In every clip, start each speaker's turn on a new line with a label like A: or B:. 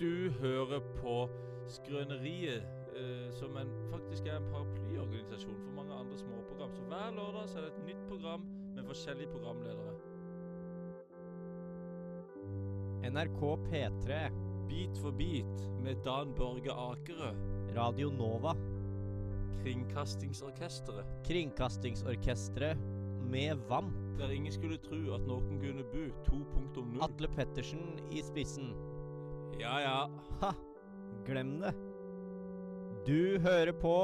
A: Du hører på Skrøneriet, eh, som en, faktisk er en paraplyorganisasjon for mange andre småprogram. Så hver lørdag så er det et nytt program med forskjellige programledere.
B: NRK P3,
A: Bit for bit med Dan Børge Akerø,
B: Radio Nova,
A: Kringkastingsorkesteret.
B: Kringkastingsorkestret med VAMP,
A: Der ingen skulle tro at noen kunne bo 2.0.
B: Atle Pettersen i spissen.
A: Ja ja.
B: Ha! Glem det. Du hører på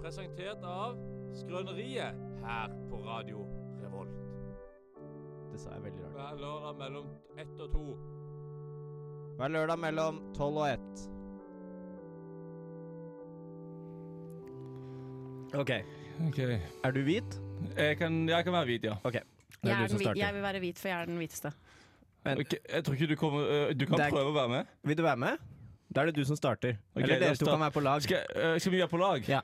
A: Presentert av Skrøneriet her på Radio Revolt.
B: Det sa jeg veldig rart.
A: Hver lørdag mellom ett og to.
B: Hver lørdag mellom 12 og 1. OK.
C: Ok.
B: Er du hvit?
C: Jeg kan, jeg kan være hvit, ja.
B: OK.
C: Det er
D: Jeg,
C: du
D: er
C: som
D: den, hvi-
C: starter.
D: jeg vil være hvit, for jeg er den hviteste.
B: Men-
C: Ok, jeg tror ikke du kommer øh, Du kan
B: Det er-
C: prøve å være med.
B: Vil du være med? Da er det du som starter.
C: Ok,
B: Eller
C: da
B: dere to
C: sta-
B: kan være på lag.
C: Skal, øh, skal vi være på lag?
B: Ja.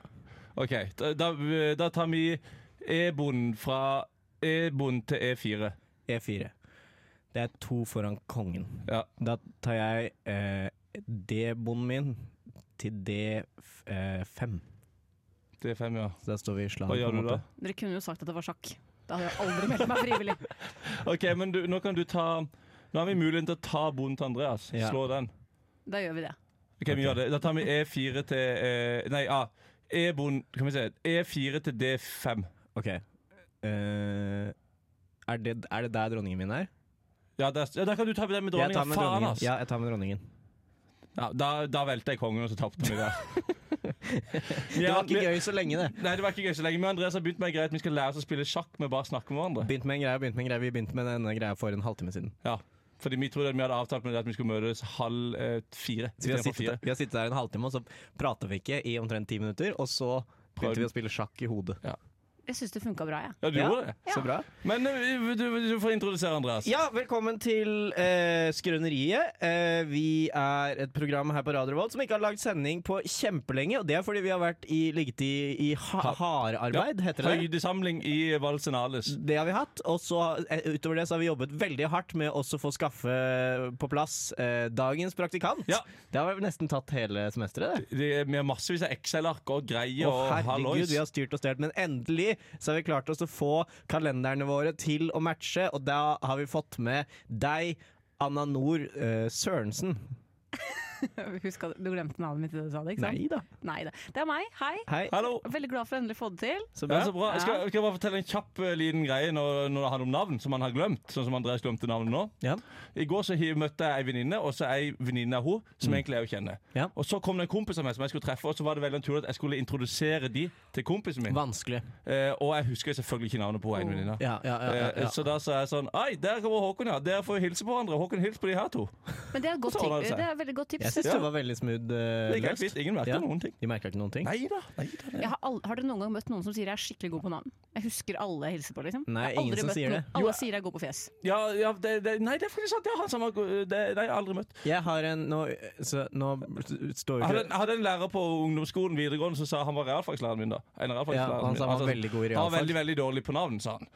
C: OK. Da, da, øh, da tar vi E-bonden fra E-bonden til E E4.
B: E4. E Det er to foran kongen.
C: Ja.
B: Da tar jeg eh, D-bonden min til D5. Eh, fem.
C: Det er fem, ja.
B: så da står vi i slag. på
C: Hva
B: en
C: gjør du da?
B: måte.
D: Dere kunne jo sagt at det var sjakk. Da hadde jeg aldri meldt meg frivillig.
C: OK, men du, nå kan du ta Nå har vi muligheten til å ta bonden til Andreas.
B: Ja.
C: Slå den.
D: Da gjør vi det.
C: OK, vi gjør det. Da tar vi E4 til eh, Nei, A. E-bonden Kan vi se. E4 til D5.
B: Ok. Eh, er, det, er det der dronningen min er?
C: Ja, der, ja, der kan du ta den med
B: Jeg tar med
C: dronninga. Faen,
B: dronningen.
C: ass!
B: Ja, jeg tar med dronningen.
C: Ja, da, da velte jeg kongen, og så tapte vi der.
B: Det var ikke gøy så lenge, det.
C: Nei, det var ikke gøy så lenge. Men Andreas har begynt med en greie at vi skal lære oss å spille sjakk med bare å snakke med hverandre.
B: Begynt med en greie, begynt med en greie. Vi begynte med denne greia for en halvtime siden.
C: Ja, fordi vi trodde at vi hadde avtalt med det at vi skulle møtes halv eh, fire.
B: Så vi har,
C: istedenfor
B: sittet,
C: fire.
B: der- vi har sittet der en halvtime, og så prata vi ikke i omtrent ti minutter. Og så
C: Prøvde.
B: begynte vi å spille sjakk i hodet.
D: Jeg syns det funka bra, jeg.
C: Ja, du
B: Ja.
C: gjorde det.
B: Så bra.
C: Men eh, du, du får introdusere Andreas.
B: Ja, velkommen til eh, Skrøneriet. Eh, vi er et program her på Radio Revolt som ikke har lagd sending på kjempelenge. Og det er fordi vi har vært i, ligget i, i ha hardarbeid, heter det.
C: Høydesamling i Valsenales.
B: Det har vi hatt, og så eh, utover det så har vi jobbet veldig hardt med også få skaffe på plass eh, dagens praktikant.
C: Ja.
B: Det har vel nesten tatt hele semesteret, det.
C: Det, vi har massevis av Excel-ark og
B: Å
C: greier og
B: herregud,
C: hallois.
B: vi har styrt og stelt, men endelig så har vi klart oss å få kalenderne våre til å matche, og da har vi fått med deg, Anna Nord eh, Sørensen.
D: Husk at du glemte navnet mitt i det du sa det, ikke sant?
B: Nei da.
D: Nei da. Det er meg. Hei.
B: Hei.
C: Hallo.
D: Veldig glad for å endelig få det til.
B: Så
C: Ja,
B: bra.
C: så bra.
D: Ja.
C: Skal, skal jeg bare fortelle en kjapp eh, liten greie når, når det handler om navn, som han har glemt? Sånn som Andreas glemte navnet nå.
B: Ja.
C: I går så hi- møtte jeg ei venninne, og så ei venninne av henne, som egentlig jeg jo kjenner.
B: Ja.
C: Og så kom det en kompis av meg som jeg skulle treffe, og så var det veldig naturlig at jeg skulle introdusere de til kompisen min.
B: Vanskelig.
C: Eh, og jeg husker selvfølgelig ikke navnet på henne ene venninna.
B: Ja, ja, ja, ja,
C: Eh,
B: ja.
C: Så da sa jeg sånn Ei, der kommer Håkon, ja. Dere får hilse på hverandre. Håkon, hils på de her to.
D: Men det er et godt
C: Så ordner det
D: tips.
C: seg.
D: Det er et veldig godt tips.
B: altså? Jeg syns det var veldig smooth eh,
C: Det gikk helt
B: løst.
C: fint. Ingen merka
B: Ja.
C: noen ting.
B: De merka ikke noen ting?
C: Nei da. Nei, da, nei.
D: Jeg har, aldri, har dere noen gang møtt noen som sier jeg er skikkelig god på navn? Jeg husker alle jeg hilser på, liksom.
B: Nei,
D: Jeg har
B: ingen
D: aldri
B: som
D: møtt
B: sier
D: noen.
B: det.
D: Alle sier jeg er god på fjes.
C: Ja, ja, det, det, nei, det er faktisk sant. Ja, han som har det, det har jeg aldri møtt.
B: Jeg har en Nå, så, nå står
C: Jeg
B: jo
C: hadde,
B: ikke
C: jeg hadde en lærer på ungdomsskolen videregående som sa han var realfagslæreren min. da En av
B: ja,
C: realfagslærerne
B: Han
C: min.
B: sa han var
C: sånn,
B: veldig god i
C: Han var
B: realfag.
C: veldig veldig dårlig på navn, sa han.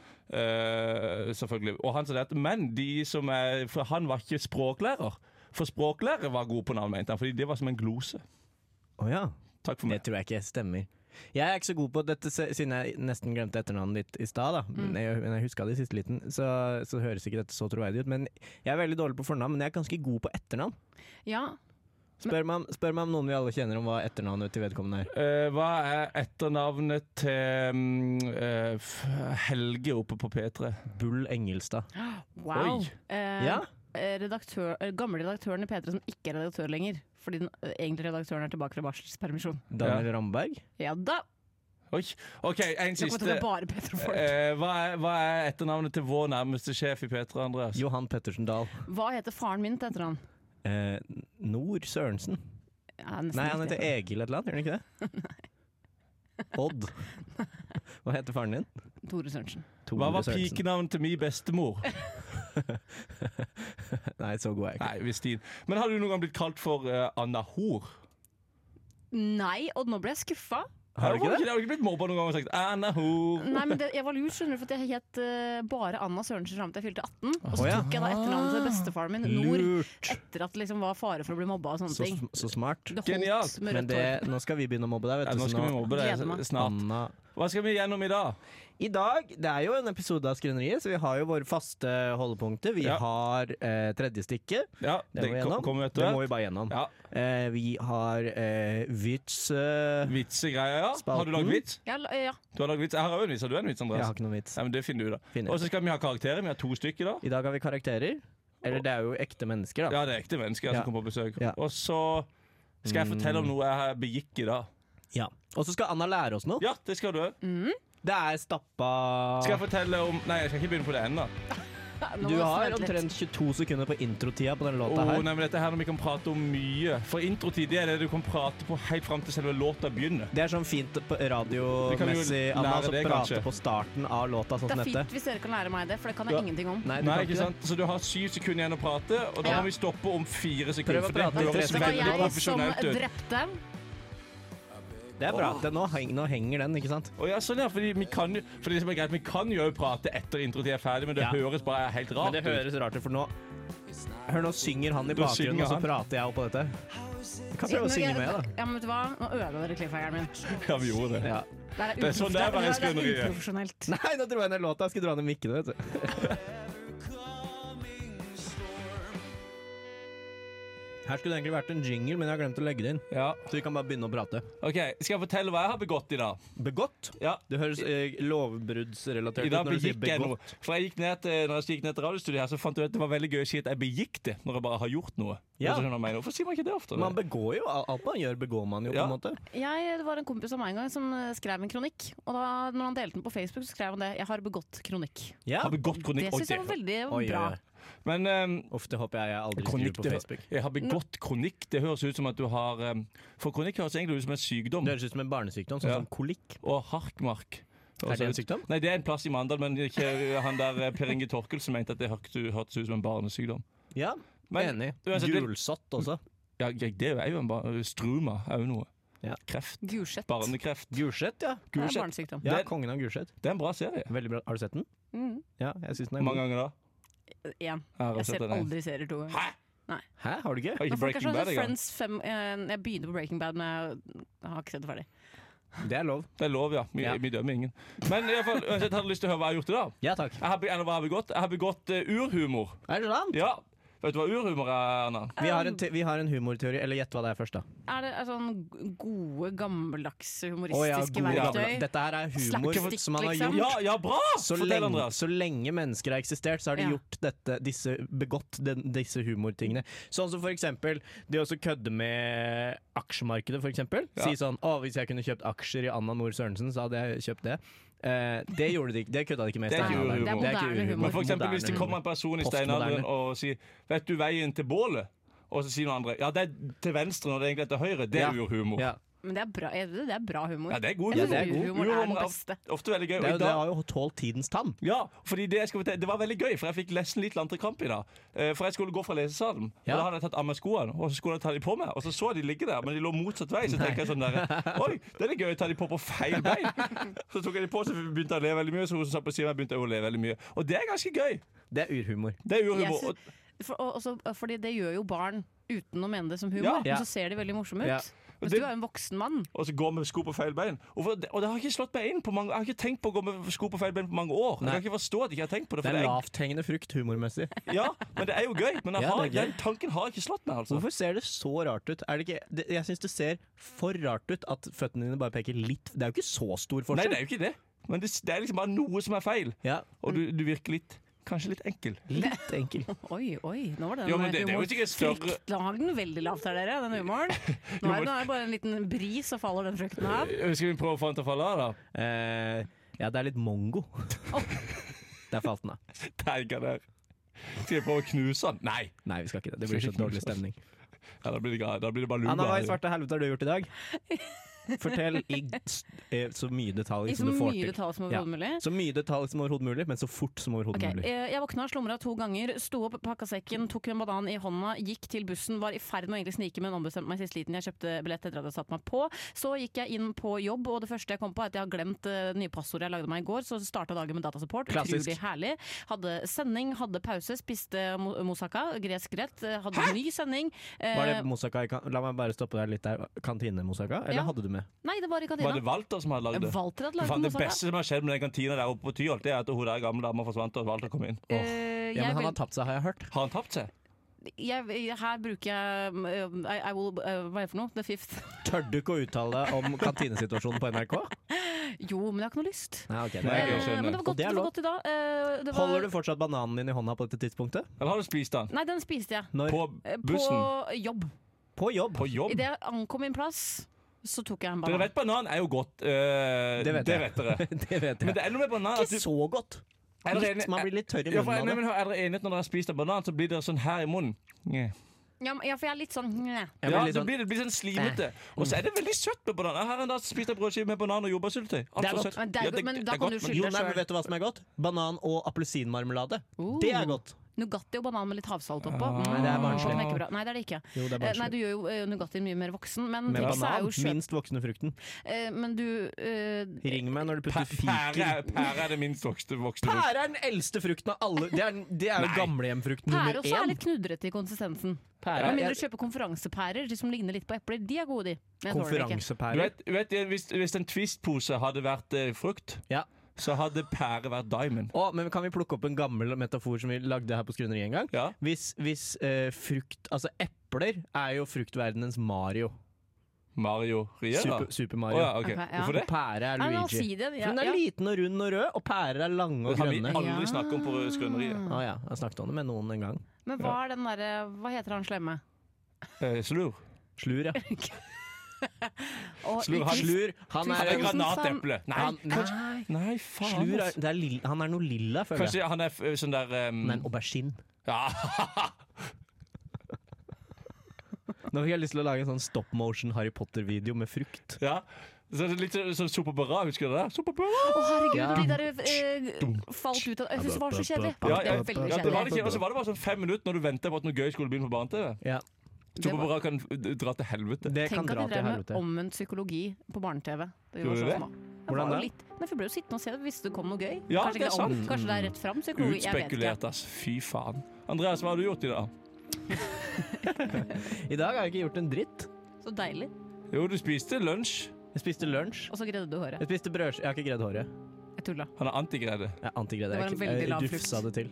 C: Eh, selvfølgelig. Og han sa det at Men de som er, for han var ikke språklærer. For språklærer var god på navn, mente han. Fordi det var som en glose.
B: Å ja.
C: Takk for
B: Det
C: meg.
B: tror jeg ikke stemmer. Jeg er ikke så god på dette, se- siden jeg nesten glemte etternavnet ditt i stad. da.
C: Mm.
B: Men jeg, men jeg huska det i siste liten, så, så høres ikke dette så troverdig ut. Men jeg er veldig dårlig på fornavn, men jeg er ganske god på etternavn.
D: Ja.
B: Spør meg, om- spør meg om noen vi alle kjenner om hva etternavnet til vedkommende er.
C: Eh, hva er etternavnet til mm, eh, f- Helge oppe på P3?
B: Bull Engelstad.
D: Wow.
C: Oi.
D: Eh,
B: Ja?
D: eh, Redaktør, eh, gamle redaktøren i P3 som ikke er redaktør lenger. Fordi den eh, egentlige redaktøren er tilbake fra barselspermisjon.
B: Daniel Ramberg.
D: Ja da!
C: Oi. OK, en
D: Jeg kommer til
C: siste.
D: å være bare P3-folk.
C: Eh, hva, er, hva er etternavnet til vår nærmeste sjef i P3, Andreas?
B: Johan Pettersen Dahl.
D: Hva heter faren min til etternavn?
B: Eh, Nord Sørensen.
D: Ja, nesten
B: Nei, han
D: riktig.
B: heter Egil et eller annet, gjør han ikke det? Odd. Hva heter faren din?
D: Tore Sørensen.
C: Hva var pikenavnet til min bestemor?
B: Nei, så god er jeg ikke.
C: Nei, Vistin. Men har du noen gang blitt kalt for eh, Anna Hor?
D: Nei, og nå ble jeg skuffa.
B: Har du
C: Hvorfor
B: ikke det?
C: Jeg har du ikke blitt mobba noen gang og sagt 'Anna Hor'.
D: Nei, men det, jeg var lur, skjønner du, for jeg het eh, bare Anna Sørensen fram til jeg fylte 18. Og så
B: Å, ja.
D: tok jeg da etternavnet til bestefaren min, Nord,
B: Lurt.
D: etter at det liksom var fare for å bli mobba og sånne
B: Så,
D: ting.
B: så smart.
D: Det holdt
C: Genialt,
D: med
B: Men
D: rødt
B: det,
D: hår.
B: nå skal vi begynne å mobbe deg,
C: Ja,
B: vet du.
C: nå
B: så
C: skal vi mobbe
D: Gleder
C: deg
D: meg.
C: snart.
B: Anna.
C: Hva skal vi gjennom i dag?
B: I dag, Det er jo en episode av Skrøneriet, så vi har jo våre faste holdepunkter. Vi
C: Ja.
B: har eh, tredje stikket.
C: Ja,
B: Det, må vi
C: kom-
B: gjennom.
C: kommer etter
B: det må
C: hvert.
B: vi bare gjennom.
C: Ja,
B: Eh, vi har eh, vits eh,
C: Vitsegreier, ja. Har du
B: Spalten.
C: lagd vits?
D: Ja, la- ja.
C: Du har lagd vits. Jeg har også en vits. Har du en vits,
B: Jeg
C: Andreas?
B: har ikke noen vits.
C: Nei, men Det finner du, da.
B: Finner.
C: Og så skal vi ha karakterer. Vi har to stykker, da.
B: I dag har vi karakterer. Eller det er jo ekte mennesker, da.
C: Ja, det er ekte
B: Ja.
C: mennesker som kommer på besøk.
B: Ja. Mm.
C: Og så skal jeg fortelle om noe jeg har begikk i dag.
B: Ja. Og så skal Anna lære oss noe.
C: Ja, det skal du òg.
B: Det er stappa
C: Skal jeg fortelle om Nei, jeg skal ikke begynne på det ennå.
D: Nå må
B: Du
D: jeg
B: har
D: vente litt.
B: omtrent 22 sekunder på introtida på den låta
C: Oh,
B: her.
C: nei, men dette her når vi kan prate om mye. For introtid det er det du kan prate på helt fram til selve låta begynner.
B: Det er sånn fint på-
C: Vi kan jo
B: radiomessig
C: lære
B: Anna, å
C: det,
B: prate
C: kanskje.
B: på starten av låta sånn
D: Det
B: som
D: er
B: dette.
D: fint hvis dere kan lære meg det, for det kan jeg
C: Ja.
D: ingenting om.
B: Nei, du
C: Nei,
B: kan
C: ikke
B: ikke det.
C: sant? Så du har syv sekunder igjen å prate, og da
D: Ja.
C: må vi stoppe om fire
B: Prøv
C: sekunder.
B: å
C: for
B: prate
C: det
B: i tre
C: høres
D: Det var
B: sekunder.
C: veldig
D: jeg som
C: profesjonelt ut.
D: drepte.
B: Det er bra. Det, nå, heng, nå henger den, ikke sant?
C: Å ja, sånn ja, fordi vi kan jo For det som er greit, vi kan jo også prate etter introtid er ferdig, men det
B: Ja.
C: høres bare helt
B: Men
C: rart
B: det høres rart ut, for nå Hør, nå synger han i
C: Da
B: bakgrunnen,
C: synger
B: og så
C: han.
B: prater jeg oppå dette. Jeg kan prøve å
D: Nå-
B: synge
D: jeg-
B: med, da.
D: Ja, men vet du hva? Nå ødela dere cliffhangeren min. Det
C: ut. Ja, vi gjorde det.
B: Ja.
D: er,
C: Det er sånn det er bare
D: uprofesjonelt. det
C: skrøneriet.
D: er uprofesjonelt.
B: Nei, nå dro jeg ned låta. Jeg skulle dra ned mikkene, vet du. Her skulle det egentlig vært en jingle, men jeg har glemt å legge det inn.
C: Ja.
B: Så vi kan bare begynne å prate.
C: OK, skal jeg fortelle hva jeg har begått i dag?
B: Begått?
C: Ja.
B: Det høres eh, lovbruddsrelatert
C: I
B: ut
C: dag
B: når du sier
C: begikk jeg noe.
B: begått.
C: For jeg gikk ned til, når jeg gikk ned til radiostudiet her, så fant jeg ut at det var veldig gøy å si at jeg begikk det, når jeg bare har gjort noe.
B: Ja.
C: Og så kan man mene, Hvorfor sier man ikke det oftere?
B: Man begår jo alt man gjør, begår man jo på
C: Ja.
B: en måte.
D: Jeg, det var en kompis av meg en gang som eh, skrev en kronikk. Og da når han delte den på Facebook, så skrev han det. Jeg har begått kronikk.
B: Ja.
C: Har begått kronikk.
D: Det
C: Oi,
D: syns jeg var veldig
B: Oi, eh, oi,
D: bra.
B: oi.
C: Men ehm,
B: Ofte håper jeg jeg aldri
C: kronikk
B: skriver på
C: det,
B: Facebook.
C: Jeg har begått kronikk. Det høres ut som at du har ehm, For kronikk høres egentlig ut som en sykdom.
B: Det høres ut som en barnesykdom, sånn
C: Ja.
B: som kolikk.
C: Og harkmark. høres
B: Er det
C: ut-
B: en sykdom?
C: Nei, det er en plass i Mandal, men ikke han der eh, Per Inge Torkelsen mente at det hørtes hørtes ut som en barnesykdom.
B: Ja,
C: Men
B: enig.
C: uansett, det-
B: Gulsott også.
C: ja, ja, det er jo en bar struma er jo noe.
B: Ja.
C: Kreft.
D: Gulsett. Det
C: Barnekreft.
B: Gulsett, ja.
D: er
C: Gulsett.
D: barnesykdom.
B: Ja,
C: Den-
B: Kongen av Gulsett.
C: Det er en bra serie.
B: Veldig bra. Har du sett den?
D: Mm.
B: Ja, jeg syns den er
C: Mange
B: god.
C: ganger da.
D: Én.
C: Jeg har
D: Jeg
C: sett
D: ser
C: den, jeg.
D: aldri serier to ganger.
C: Hæ?
B: Hæ, har du ikke?
C: Har
D: Men
C: ikke
D: folk er
C: Breaking
D: sånn
C: Bad
D: at
C: engang.
D: Friends fem, eh, jeg begynte på Breaking Bad, men jeg har ikke sett det ferdig.
B: Det er lov.
C: Det er lov, ja. Vi,
B: Ja.
C: vi dømmer ingen. Men i alle fall, uansett, hadde du lyst til å høre hva jeg har gjort i dag?
B: Ja takk.
C: Jeg har, be- eller hva jeg har begått? Jeg har begått eh, urhumor.
B: Er det sant?
C: Ja. Vet du hva urhumor er, Erna?
B: Vi har, en te vi har en humorteori. Eller gjett hva det er først, da.
D: Er det er sånn gode, gammeldagse
B: Å, ja,
D: humoristiske
B: gode gamle-
D: verktøy?
B: Dette her er humor
D: Slapstick,
B: som man har
D: liksom.
B: gjort
C: Ja, ja, bra!
B: så
C: Fortell,
B: lenge,
C: Andreas.
B: så lenge mennesker har eksistert, så har de
D: Ja.
B: gjort dette, disse, begått den, disse humortingene. Sånn som for eksempel det å så kødde med aksjemarkedet, for eksempel.
C: Ja.
B: Si sånn å, hvis jeg kunne kjøpt aksjer i Anna Nord Sørensen, så hadde jeg kjøpt det. Eh, det gjorde de ikke. Det kødda de ikke med. i
C: Det er ikke
B: Steinalderen.
C: urhumor. Det er
B: ikke
D: moderne humor.
C: Men for eksempel, hvis det
B: Moderne
C: kommer en
B: humor.
C: person i
B: Postmoderne.
C: steinalderen og sier 'Vet du veien til bålet?' Og så sier noen andre 'Ja, det er til venstre når det egentlig er til høyre'. Det
B: Ja.
C: er urhumor. Ja.
B: ja.
D: Men det er bra, er det, det er bra humor.
C: det er god
D: Jeg
B: Ja, det er
D: synes
B: god.
D: Humor er den
C: Urhumor er
D: beste.
C: Ofte veldig gøy.
B: det,
C: Og
B: er
C: i
B: jo, det
C: dag,
B: har jo tålt tidens tann.
C: ja, fordi det, jeg skal fortelle, det var veldig gøy, for jeg fikk nesten litt landtrekramp i dag. Eh, For jeg skulle gå fra lesesalen,
B: Ja.
C: og da hadde jeg tatt av meg skoene. Og så skulle jeg ta de på meg, og så så jeg de ligge der, men de lå motsatt vei. Så tenker jeg sånn der, Oi, det er litt gøy å ta de på på feil bein. Så tok jeg de på, så begynte jeg å le veldig mye. Så hun som satt på siden av meg, begynte jeg å le veldig mye. Og det er ganske gøy.
B: Det er urhumor.
C: Det er
D: Jeg
C: urhumor.
D: synes-
C: Og-
D: For, og, også, fordi det gjør jo barn uten å mene det som humor,
C: Ja.
B: Ja.
D: men så ser de veldig morsomme ut.
B: Ja.
D: Mens
C: Det-
D: du er jo en voksen mann.
C: og så går med sko på feil bein. Og, for, og det har ikke slått meg inn på mange Jeg har ikke tenkt på å gå med sko på feil bein på mange år.
B: Nei.
C: Jeg kan ikke forstå at jeg ikke har tenkt på det.
B: Det
C: For
B: er
C: det er
B: lavthengende frukt humormessig.
C: ja, men det er jo gøy. Men jeg
B: Ja,
C: har,
B: det er gøy.
C: den tanken har ikke slått meg, altså.
B: Hvorfor ser det så rart ut? Er det ikke, det, jeg syns det ser for rart ut at føttene dine bare peker litt Det er jo ikke så stor
C: Nei,
B: forskjell.
C: det er jo ikke det. Men det, det er liksom bare noe som er feil.
B: Ja,
C: Og du, du virker litt Kanskje litt enkel.
B: litt enkel.
D: Oi, oi, nå var det den
C: Jo, men det, det er jo
D: humoren.
C: ikke større
D: Frykt, da hang den veldig lavt her, dere, den humoren. Nå er, nå er det bare en liten bris, så faller den frukten av.
C: Eh, Skal vi prøve å få han til å falle av, da?
B: Eh, ja, det er litt mongo. Der falt den av.
C: Teiga der. Skal vi prøve å knuse han? Nei!
B: Nei, vi skal ikke det. Det blir så dårlig stemning.
C: Ja, da, blir det, ga- da blir det bare
B: Anna, hva i
C: luba.
B: svarte helvete har du gjort i dag? Fortell i s- eh, så mye detalj
D: I så
B: som du får
D: mye
B: til.
D: detalj som
B: Ja.
D: overhodet mulig.
B: Så mye detalj som overhodet mulig, men så fort som overhodet
D: Ok,
B: mulig.
D: eh, Jeg våkna, slumra to ganger, sto opp, pakka sekken, tok en banan i hånda, gikk til bussen, var i ferd med å egentlig snike, men ombestemte meg i siste liten. Jeg kjøpte billett etter at jeg hadde satt meg på. Så gikk jeg inn på jobb, og det første jeg kom på, er at jeg har glemt eh, det nye passordet jeg lagde meg i går. Så starta dagen med datasupport.
B: Klassisk.
D: Utrolig herlig. Hadde sending, hadde pause, spiste mo- moussaka, gresk rett, eh, hadde ny sending. Eh,
B: Var det moussaka i kan La meg bare stoppe deg litt der. Kantinemoussaka, eller
D: Ja.
B: hadde du med?
D: Nei, det var i kantina.
C: Var det Walter som hadde lagd det?
D: Walter hadde
C: Faen,
D: lagd
C: det
D: moussaka.
C: beste som har skjedd med den kantina der oppe på Tyholt, det er at hun der gamle dama forsvant og Walter kom inn.
D: Eh,
B: Ja,
D: jeg
B: men han
D: vil-
B: har tapt seg, har jeg hørt.
C: Har han tapt seg?
D: jeg, her bruker jeg um, I, I will, uh, Hva er det for noe? The fifth?
B: Tør du ikke å uttale deg om kantinesituasjonen på NRK?
D: Jo, men jeg har ikke noe lyst.
B: Nei, ok, det
C: Nei, jeg
D: Eh,
C: skjønner.
D: men det var
B: Og
D: godt,
B: det
D: det
B: er
D: var
B: lov.
D: godt i dag. Eh, det var,
B: Holder du fortsatt bananen din i hånda på dette tidspunktet?
C: Eller har du spist den?
D: Nei, den spiste jeg.
B: Når?
C: På
D: Eh, På
C: bussen?
D: jobb.
B: På jobb.
C: På jobb?
D: Idet jeg ankom min plass, så tok jeg en
C: Dere
D: banan.
C: vet banan er jo godt. eh,
B: Det vet jeg.
C: dere.
B: det vet
C: Men
B: jeg.
C: det er noe med banan at du,
B: Ikke så godt.
C: er dere enige-
B: Man blir litt tørr i
C: Ja, for,
B: munnen
C: nei,
B: av det.
C: men, hør, er dere enige at når dere har spist en banan, så blir dere sånn her i munnen? Nye.
D: Ja, men- ja, for jeg er litt sånn Nye.
B: Jeg
C: Ja,
B: blir litt
C: det
B: sånn-
C: blir, det blir sånn slimete. Og så er det veldig søtt med banan. Her har en dag spist en brødskive med banan og jordbærsyltetøy. Alt
B: Det er
C: for
B: godt.
C: søtt.
D: Men det er
C: Ja,
D: godt, men da
C: det er
D: kan du
C: men-
D: skylde-
B: Jo,
D: deg
B: nei,
D: selv.
B: men vet du hva som er godt? Banan og appelsinmarmelade. Uh. Det
D: Uh.
B: er godt.
D: Nugatti og banan med litt havsalt oppå.
C: Ah.
D: Mm,
B: Nei, det er barnslig.
D: sånn er ikke bra. Nei, det er det ikke.
B: Jo, det er
D: Eh, Nei,
B: barnslig.
D: Du gjør jo eh, Nugattien mye mer voksen, men
B: Med
D: trikset er
B: banan,
D: jo kjøp.
B: minst voksne frukten.
D: Eh, Men du eh,
B: Ring meg når du putter
C: Pæ- Pære,
B: fiker.
C: er- pære er det minst vokste voksne frukt.
B: Pære er den eldste frukten av alle. Det er, det er jo gamlehjemfrukten
D: Pære
B: nummer
D: også er
B: én.
D: litt knudrete i konsistensen.
B: Pære
D: Med
B: er-
D: mindre du kjøper konferansepærer de som ligner litt på epler. De er gode, de. Men jeg tåler det ikke.
C: Du
B: Konferansepære.
C: vet, du vet, eh, hvis, hvis en Twist-pose hadde vært eh, frukt,
B: Ja.
C: så hadde pære vært diamond.
B: Å, men kan vi plukke opp en gammel metafor som vi lagde her på Skrøneri en gang?
C: Ja.
B: Hvis, hvis eh, frukt Altså, epler er jo fruktverdenens Mario.
C: Mario Riera.
B: Super, Super
C: Å
B: Mario.
C: ja, ok.
D: Ok, ja.
C: Hvorfor det?
B: Og pære er
D: Nei, men han
B: Luigi.
D: sier det, ja,
B: For hun er
D: ja.
B: liten og rund og rød, og pærer er lange
C: Det
B: og
C: kan vi
B: grønne. Å
C: aldri
D: Ja.
C: snakke om på Skrøneriet.
B: ja, jeg snakket om det med noen en gang.
D: Men hva er den derre Hva heter han slemme?
C: Eh, slur.
B: Slur, ja.
D: Og
C: Slur,
D: Twist-
B: Slur, han
C: Han
B: er,
C: er
D: Tusen
C: granateple. Nei,
B: han, nei,
C: nei faen.
B: slur
C: ass.
B: er, det er lilla, han er noe lilla, føler jeg.
C: Kanskje han er f- sånn der
B: Han
C: um,
B: er en aubergine.
C: ja.
B: Nå fikk jeg lyst til å lage en sånn stop motion Harry Potter-video med frukt.
C: ja. Så, litt sånn som Superbara, husker du det? Superbara!
D: Å herregud,
B: Ja.
D: når de der eh, falt ut av Jeg synes det var så kjedelig.
C: Ja,
D: Det
C: ja,
D: var
C: ja,
D: veldig
C: det var det
D: kjedelig.
C: ikke. Og så var det bare sånn fem minutter når du venter på at noe gøy skulle begynne på barne-TV.
B: Ja,
C: Superbara kan f- dra til helvete.
B: det kan
D: Tenk at
B: dra
D: de
B: til
D: drev med
B: helvete.
D: omvendt psykologi på barne-TV. da vi var
C: Gjorde
D: så
C: de det?
D: små. Jeg
B: Hvordan
D: var jo
B: da?
D: litt- Nei, for Vi ble jo sittende og se det hvis det kom noe gøy.
C: Ja,
D: kanskje,
C: det er
D: ikke om-
C: sant.
D: kanskje det er rett fram psykologi. Jeg vet ikke.
C: Utspekulert, ass. Fy faen. Andreas, hva har du gjort i dag?
B: I dag har jeg ikke gjort en dritt.
D: Så deilig.
C: Jo, du spiste lunsj.
B: Jeg spiste lunsj.
D: Og så greide du håret.
B: Jeg spiste brødskive. Jeg har ikke gredd håret.
D: Jeg tulla.
C: Han er antigrede.
B: Jeg antigredd.
D: Det var en
B: Jeg,
D: veldig
B: jeg,
D: lav
B: jeg
D: frukt.
B: dufsa det til.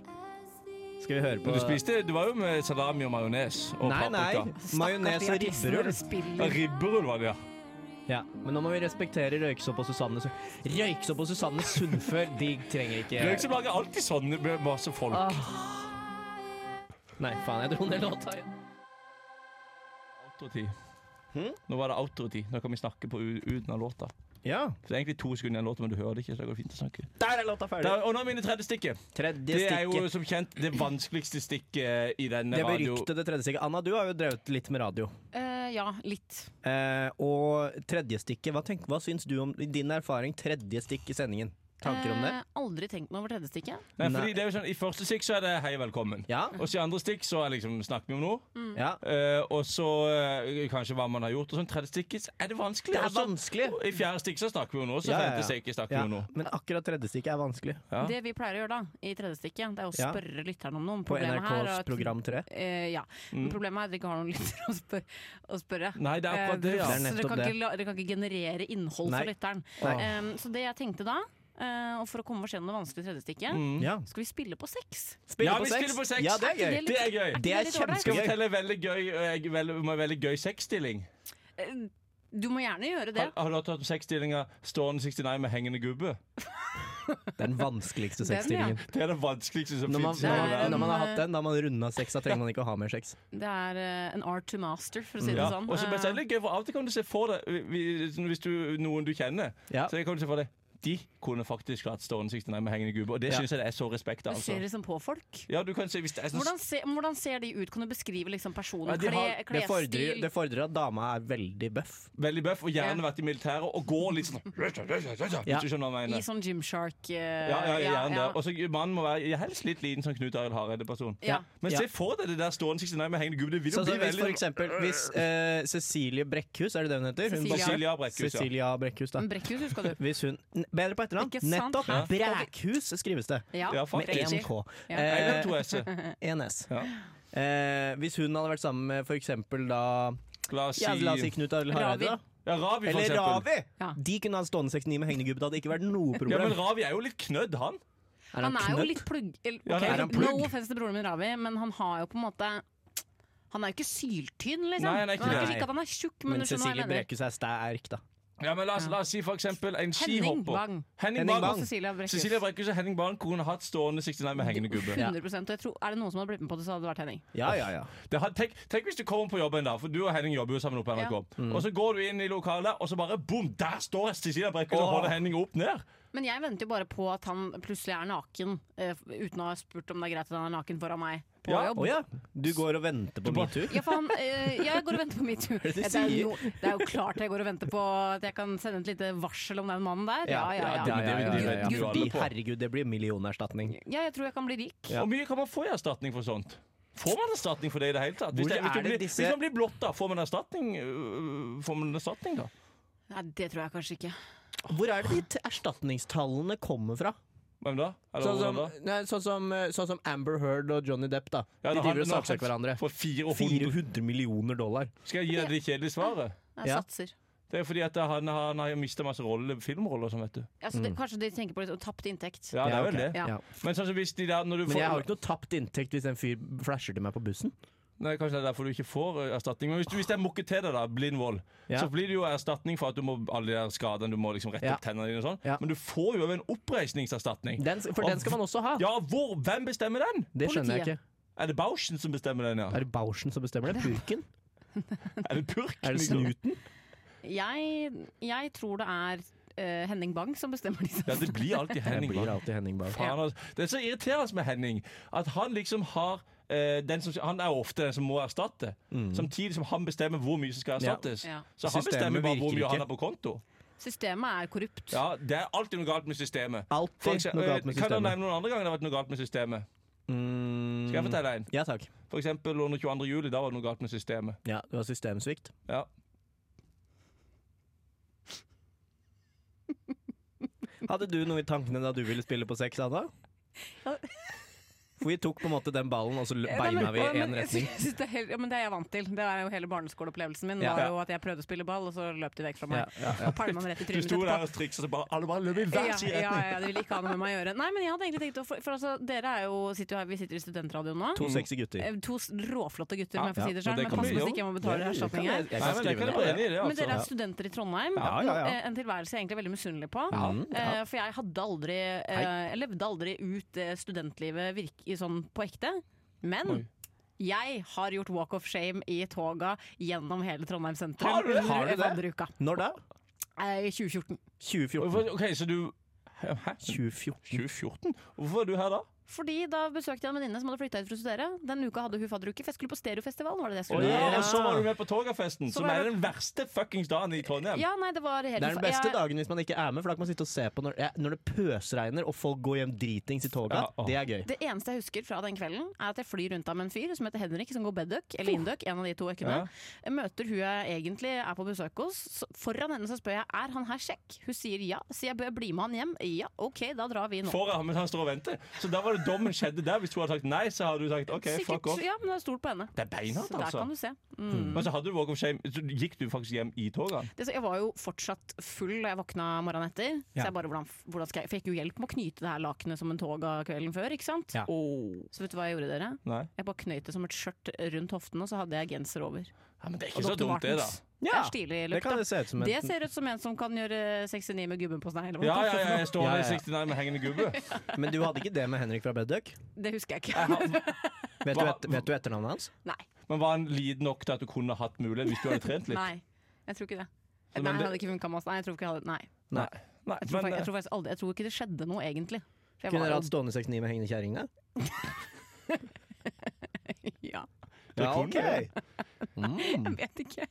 B: Skal vi høre på
C: Men du spiste Du var jo med salami og majones og
B: Nei, nei.
C: paprika.
B: Majones og ribberull.
C: Ja,
D: ribberull.
C: Ribberull var det, ja.
B: Ja, Men nå må vi respektere Røyksopp og Susanne Su- Røyksopp og Susanne Sundfør, de trenger ikke
C: Røyk som lager alltid sånn med masse folk.
B: Nei, faen, jeg dro ned låta igjen.
C: Outro-tid. Nå var det outro-tid. Nå kan vi snakke på u- uten av låta.
B: Ja,
C: Så det er egentlig to sekunder igjen av låta, men du hører det ikke. så det går fint å snakke.
B: der er låta ferdig.
C: Da, og nå er mine tredje stikket.
B: tredje
C: Det er jo
B: stikket.
C: som kjent det vanskeligste stikket i denne
B: Det
C: radio...
B: beryktede tredje stikket. Anna, du har jo drevet litt med radio.
D: Eh, ja, litt.
B: Eh, og tredje stikket, hva, tenk, hva syns du om i din erfaring tredje stikk i sendingen? Tanker om det?
D: Eh, aldri tenkt meg over tredje stikket.
C: Nei, fordi det er jo sånn, I første stikk så er det hei, velkommen.
B: Ja?
C: Og så i andre stikk så er liksom snakker vi om noe.
D: Mm.
B: ja.
C: Eh, og så eh, kanskje hva man har gjort. Og sånn tredje stikket så er det vanskelig.
B: Det er
C: altså. Og så-
B: vanskelig.
C: I fjerde stikk så snakker vi om noe, så
B: Ja, ja, ja.
C: femte stikk snakker vi
B: Ja,
C: om noe.
B: men akkurat tredje stikket er vanskelig.
C: Ja.
D: Det vi pleier å gjøre da, i tredje stikket, det er å
B: Ja.
D: spørre lytteren om noe.
B: På
D: Problemet her er
B: NRKs
D: at-
B: program 3.
D: Eh, ja. Men Problemet er at vi ikke har noen lyttere å, spør å spørre.
C: Mm.
D: Eh,
C: Nei, det er akkurat det, ja.
B: Det er
D: Så dere
B: nettopp
D: kan,
B: det.
D: ikke, la- dere kan ikke generere innhold
B: Nei.
D: for lytteren. Eh, så det jeg tenkte da, eh, og for å komme oss gjennom det vanskelige tredje stikket,
C: Mm.
B: Ja.
D: skal vi spille på sex?
B: Spille
C: Ja, vi spiller på sex.
B: Ja, det er gøy.
D: litt-
C: Det er gøy.
D: ikke
B: Det er
D: litt ålreit?
C: Skal
B: kjempegøy.
C: jeg fortelle en veldig gøy, eh, vel- om en veldig gøy sexstilling?
D: Eh, Du må gjerne
C: Har,
D: gjøre det.
C: har du hørt om sexstillinga stående 69 med hengende gubbe?
B: Det er den vanskeligste
D: Den, ja.
B: sexstillingen.
C: Det er det vanskeligste som
B: Når man,
C: fins i
B: når,
D: Det er
B: man,
D: en-
B: når man har hatt den, da har man runda sex. Da trenger man ikke å ha mer sex.
D: Det er eh, en art to master, for å si det
C: Ja.
D: sånn.
C: Og så
D: Eh,
C: men så er det litt gøy, for av og til kan du se for deg vi- vi- sånn Hvis du noen du kjenner,
B: Ja.
C: så kan du se for deg de kunne faktisk hatt Stone 69 med hengende gubbe, og det
B: Ja.
C: syns jeg det er så respekt av.
D: Du ser
C: Altså.
D: liksom på folk.
C: Ja, du kan se, hvis det er sånn
D: Hvordan, se, hvordan ser de ut? Kan du beskrive liksom personen?
C: Ja, de har-
D: Kle,
B: Det fordrer,
D: klesstil?
B: det fordrer at dama er veldig bøff.
C: veldig bøff, og gjerne
D: Ja.
C: vært i militæret, og går litt sånn
B: Ja.
C: Hvis du skjønner hva jeg
D: I
C: mener.
D: sånn Gymshark eh,
C: Ja, ja, gjerne
D: ja.
C: det. Og så mannen må være helst litt liten som Knut Arild Hareide-person.
D: Ja.
C: Men
B: Ja.
C: se for deg det der Stone 69 med hengende gubbe. Det vil
B: Så,
C: jo
B: så
C: bli
B: hvis for
C: veldig sånn-
B: eksempel hvis, eh, Cecilie Brekkhus, er det det hun heter? Hun bokser-
C: Cecilia
D: Cecilia.
C: Brekkhus, ja.
B: Cecilia Brekkhus, da.
D: Men Brekkhus husker du.
B: Hvis hun n- Bedre på etternavn.
D: Ikke sant?
B: Nettopp!
D: Ja.
B: Brækhus skrives det.
D: Ja,
C: Ja,
B: Med
C: faktisk.
B: én
D: riktig.
B: K.
D: Ja.
C: Nei, det
B: Eh,
C: er to S-er.
B: Én S.
C: Ja.
B: Eh, hvis hun hadde vært sammen med for eksempel da
C: La oss si
B: ja, La oss si Knut Arild Hareide, da.
D: Ravi.
C: Ja, Ravi, for
B: Eller
C: eksempel.
B: Ravi!
D: Ja.
B: De kunne hatt stående 69 med hengende gubbe. Det hadde ikke vært noe
C: Ja, men
B: problem.
C: Ravi er jo litt knødd, han.
B: han
D: Han er jo
B: knøtt?
D: litt plugg... eller,
C: Ja,
D: ok,
C: er
B: han plugg?
D: no offense til broren min Ravi, men han har jo på en måte Han er jo ikke syltynn, liksom.
C: Nei, han er ikke
D: det.
B: det.
D: ikke at han er tjukk, men,
B: Men
D: du skjønner hva
B: Cecilie
D: jeg mener.
B: Brekkhus er sterk, da.
C: Ja, men La oss, la oss si for eksempel en
D: Henning
C: skihopper.
D: Bang.
C: Henning
B: Henning
C: Bang.
B: Bang.
D: Cecilia Brekkhus.
C: Cecilia Brekkhus og Henning Bang kunne hatt stående 69 med hengende gubbe.
D: 100 og jeg tror, Er det noen som hadde blitt med på det, så hadde det vært Henning.
B: Ja, ja, ja.
C: Det had, tenk, tenk hvis du kommer på jobben, da for du og Henning jobber jo sammen oppe på NRK.
B: Mm.
C: Og så går du inn i lokalet, og så bare bom! Der står Cecilia Brekkhus og
B: Åh.
C: holder Henning opp ned.
D: Men jeg venter jo bare på at han plutselig er naken, eh, uten å ha spurt om det er greit at han er naken foran meg på
C: Ja,
D: jobb.
B: Å ja. Du går og venter på
C: bare-
B: metoo?
D: Ja, for han, eh, jeg går og venter på metoo.
B: er det du
D: Ja, det, er
B: sier?
D: jo- det er jo klart jeg går og venter på at jeg kan sende et lite varsel om den mannen der. Ja, ja, ja.
C: ja, ja, ja, ja.
B: Gud,
C: Gud,
B: de- Herregud, det blir millionerstatning.
D: Ja, jeg tror jeg kan bli rik.
B: Ja.
C: Hvor mye kan man få i erstatning for sånt? Får man erstatning for det i det hele tatt? Hvis,
B: Hvor
C: det, hvis,
B: er
C: du
B: det
C: blir,
B: disse-
C: hvis man blir blotta, får man erstatning? øh, får man erstatning da?
D: Nei, det tror jeg kanskje ikke.
B: Hvor er det de t- erstatningstallene kommer fra?
C: Hvem da? Eller
B: Sånn som,
C: hvordan da?
B: nei, sånn, som, eh, sånn som Amber Heard og Johnny Depp, da.
C: Ja,
B: de
C: når han-
B: driver og
C: når
B: saksøker
C: han
B: hverandre.
C: Får 400.
B: 400 millioner dollar.
C: Skal jeg gi deg det kjedelige svaret?
D: Jeg
B: Ja.
D: satser.
C: Det er fordi at han, han har mista masse roller, filmroller og sånn, vet du.
D: Altså, det, kanskje de tenker på litt tapt inntekt.
C: Ja, det er vel
B: ok.
C: det.
D: Ja.
B: Mm. Ja.
C: Men sånn som hvis de der når du
B: Men
C: får,
B: jeg har ikke noe tapt inntekt hvis en fyr flasher til meg på bussen.
C: Nei, Kanskje det er derfor du ikke får eh, erstatning. Men hvis, du- hvis jeg mukker til deg, da, blind vold,
B: Ja.
C: så blir det jo erstatning for at du må alle de der skadene, du må liksom rette
B: Ja.
C: opp tennene dine og sånn.
B: Ja.
C: Men du får jo en oppreisningserstatning.
B: Den, s- for den skal man også ha.
C: Ja, hvor, hvem bestemmer den?
B: Det skjønner jeg
D: Politiet.
B: ikke.
C: Er det Bauschen som bestemmer den, ja?
B: Er det Bauschen som bestemmer det? Purken?
C: Er det purken?
B: Er det
C: liksom?
B: snuten?
D: Jeg, jeg tror det er eh, Henning Bang som bestemmer disse.
C: Ja, det blir alltid
B: Jeg
C: Henning.
B: blir
C: hva?
B: alltid Henning Bauer.
C: Faen, altså. Det er så irriterende med Henning at han liksom har eh, den som, Han er jo ofte den som må erstatte, samtidig som han bestemmer hvor mye som skal
B: Mm. Ja.
C: erstattes.
D: Ja.
C: Så han
B: Systemet
C: bestemmer bare hvor
B: virker
C: mye
B: ikke.
C: han har på konto.
D: Systemet er korrupt.
C: Ja, Det er alltid noe galt med systemet. For
B: Alltid
C: eksempel- Eh,
B: noe galt med
C: «Øh, Kan du
B: systemet.
C: nevne noen andre ganger det har vært noe galt med systemet?
B: Mm,
C: Skal jeg fortelle en?
B: Ja takk.
C: For eksempel under 22. juli, da var det noe galt med systemet.
B: Ja, det var systemsvikt.
C: Ja.
B: Hadde du noe i tankene da du ville spille på sex, Anna?
D: Ja.
B: For vi tok på en måte den ballen, og så lø-
D: Ja, Eh, nei,
B: beina
D: men-
B: vi
D: ja,
B: i
D: men
B: én
D: jeg
B: retning.
D: synes det er helt- Ja, men det er jeg vant til. Det er jo hele barneskoleopplevelsen min.
B: Ja.
D: var jo at Jeg prøvde å spille ball, og så løp de vekk fra meg.
B: Ja, ja, ja.
D: Og pælma meg rett i
C: Du
D: trynet
C: sto der
D: etterpå.
C: og triksa så bare Alle bare løp i hver
D: Ja,
C: sin
D: ja,
C: retning.
D: ja, de ville ikke ha noe med meg å gjøre. Nei, men jeg hadde egentlig tenkt å For, for altså, dere er jo, sitter jo her, vi sitter i studentradioen nå.
B: To sexy gutter.
D: Eh, To s- råflotte gutter, om
B: Ja,
D: jeg får si det
C: men
D: selv.
C: det
D: Men
C: kan
D: pass
C: vi
D: på så
C: gjøre.
D: ikke jeg må
B: Ja,
D: betale
B: jeg kan-
D: erstatning her.
B: jeg kan
C: Nei, men det
B: skrive
C: kan
B: ned.
C: jeg være enig i, det.
D: Men dere
C: Altså.
D: er studenter i Trondheim.
B: Ja, ja, ja.
D: Eh, En tilværelse jeg egentlig er veldig misunnelig på.
B: Ja, ja.
D: Eh, For jeg hadde aldri eh, Jeg levde aldri ut det studentlivet virk, i sånn på ekte. Men
C: Oi.
D: jeg har gjort walk of shame i toga gjennom hele Trondheim sentrum.
C: Har du det?
B: Har du det?
D: Evandruka.
B: Når da?
D: Eh, I 2014.
B: 2014.
C: OK, så du Hæ?
B: 2014.
C: 2014? Hvorfor er du her da?
D: Fordi da besøkte jeg en venninne som hadde flytta ut for å studere. Den uka hadde hun fadderuke, for jeg skulle på stereofestivalen. Var det det jeg
C: Og,
D: skulle?
B: Ja.
C: og så var du med på Togafesten,
D: Så
C: som
D: var
C: er
D: jeg-
C: den verste fuckings dagen i Trondheim.
D: Ja, nei, det var helt
B: Det er den beste
D: jeg-
B: dagen hvis man ikke er med, for da kan man sitte og se på når, ja, når det pøsregner og folk går hjem dritings i toga.
C: Ja, å.
B: Det er gøy.
D: Det eneste jeg husker fra den kvelden, er at jeg flyr rundt av med en fyr som heter Henrik, som går bedøk, eller indøk, en av de to økkene.
C: Oh. Ja.
D: Jeg møter hun jeg egentlig er på besøk hos. Så foran henne så spør jeg er han her sjekk. Hun sier ja. Sier jeg bør jeg bli med han hjem? Ja, OK, da drar vi nå.
C: Foran ham mens han står og venter. Så da var det dommen skjedde der. Hvis hun hadde sagt nei, så hadde du sagt OK, fuck off.
D: Sikkert, ja, men jeg har stolt på henne.
C: Det er beinhardt,
D: Så der
C: altså.
D: kan du se. Mm.
C: Men så hadde du walk of shame. Så gikk du faktisk hjem i togene?
D: Det, så jeg var jo fortsatt full da jeg våkna morgenen etter.
B: Ja.
D: Så jeg bare, hvordan, hvordan skal jeg, fikk jo hjelp med å knyte det her lakenet som en toga kvelden før, ikke sant?
B: Ja.
D: Så vet du hva jeg gjorde, dere?
C: Nei.
D: Jeg bare knøyt det som et skjørt rundt hoften, og så hadde jeg genser over.
C: Ja, men det er
D: Og
C: ikke så
D: Dr.
C: dumt, det, da.
D: Martens. Det
B: Ja,
D: er stilig
B: Det
D: look,
B: kan
D: da.
B: det se ut som en
D: Det ser ut som en som kan gjøre 69 med gubben på snei. eller hva
C: Ja,
D: faen
C: ja,
D: for
C: ja,
D: noe.
C: jeg
B: Ja,
C: står
B: ja,
C: her i
B: ja.
C: sikte nær med hengende gubbe.
B: Men du hadde ikke det med Henrik fra Bedøk?
D: Det husker jeg
C: Jeg
D: ikke.
C: har-
B: Vet, du
C: Hva-
B: et, vet du etternavnet hans?
D: Nei.
C: Men var han liten nok til at du kunne hatt mulighet hvis du hadde trent litt?
D: Nei. Jeg tror ikke det.
C: men
D: Nei, jeg
C: det-
D: hadde ikke funka med oss. Nei, jeg tror ikke jeg hadde Nei.
B: Nei.
C: Nei,
D: Jeg tror,
C: men
D: fak- jeg
C: eh,
D: tror, faktisk aldri, jeg tror ikke det skjedde noe, egentlig. For jeg
B: Kunne
D: var
B: dere
D: jo-
B: hatt stående 69 med hengende kjerring, da?
D: Ja,
C: det kunne
B: ok.
D: jeg vet
C: Mm.
D: ikke.
C: det.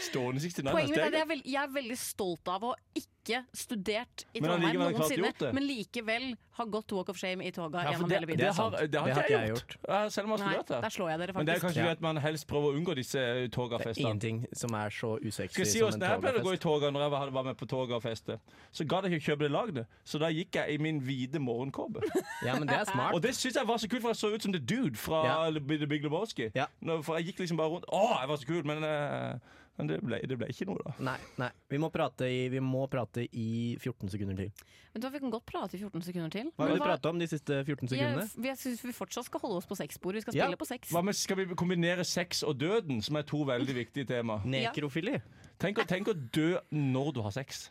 C: Stående 69
D: Poenget mitt er
C: steg.
D: at jeg er, veld, jeg er veldig stolt av å ikke studert i
C: Men allikevel
D: Trondheim
C: har jeg klart
D: noensinne,
C: gjort det.
D: men likevel har gått walk of shame i toga
C: Ja, for
D: gjennom
C: det,
D: hele
C: det,
D: byen.
C: har, det har ikke jeg gjort. Ja, Selv om jeg har
D: Nei,
C: studert
D: der
C: det.
D: slår jeg dere
C: Men det er
D: faktisk.
C: kanskje
B: Ja.
C: fordi at man helst prøver å unngå disse eh,
B: Det er
C: togafestene.
B: ingenting som er så usexy
C: Skal jeg si
B: som
C: hvordan
B: en
C: det her pleide å gå i
B: togafest.
C: toga når jeg var- var med på toget og festet. Så gadd jeg ikke kjøpe det lagd, så da gikk jeg i min hvite morgenkåpe.
B: Ja, men det er smart.
C: Og det syns jeg var så kult, for jeg så ut som The Dude fra
B: Ja.
C: The Big- The Big Lebowski.
B: Ja.
C: Nå- For jeg gikk liksom bare rundt Å, jeg var så kul! Men, eh, men det, ble, det ble ikke noe, da.
B: Nei, nei. Vi må, prate i, vi må prate i 14 sekunder til.
D: Vet du hva, Vi kan godt prate i 14 sekunder til.
B: Hva
D: Men
B: vil du prate om de siste 14 sekundene?
D: Jeg, jeg syns vi fortsatt skal holde oss på sexsporet. Vi skal
B: Ja.
D: spille på sex.
C: Hva med, skal vi kombinere sex og døden, som er to veldig viktige tema?
B: Nekrofili.
C: Tenk, å- tenk å dø når du har sex.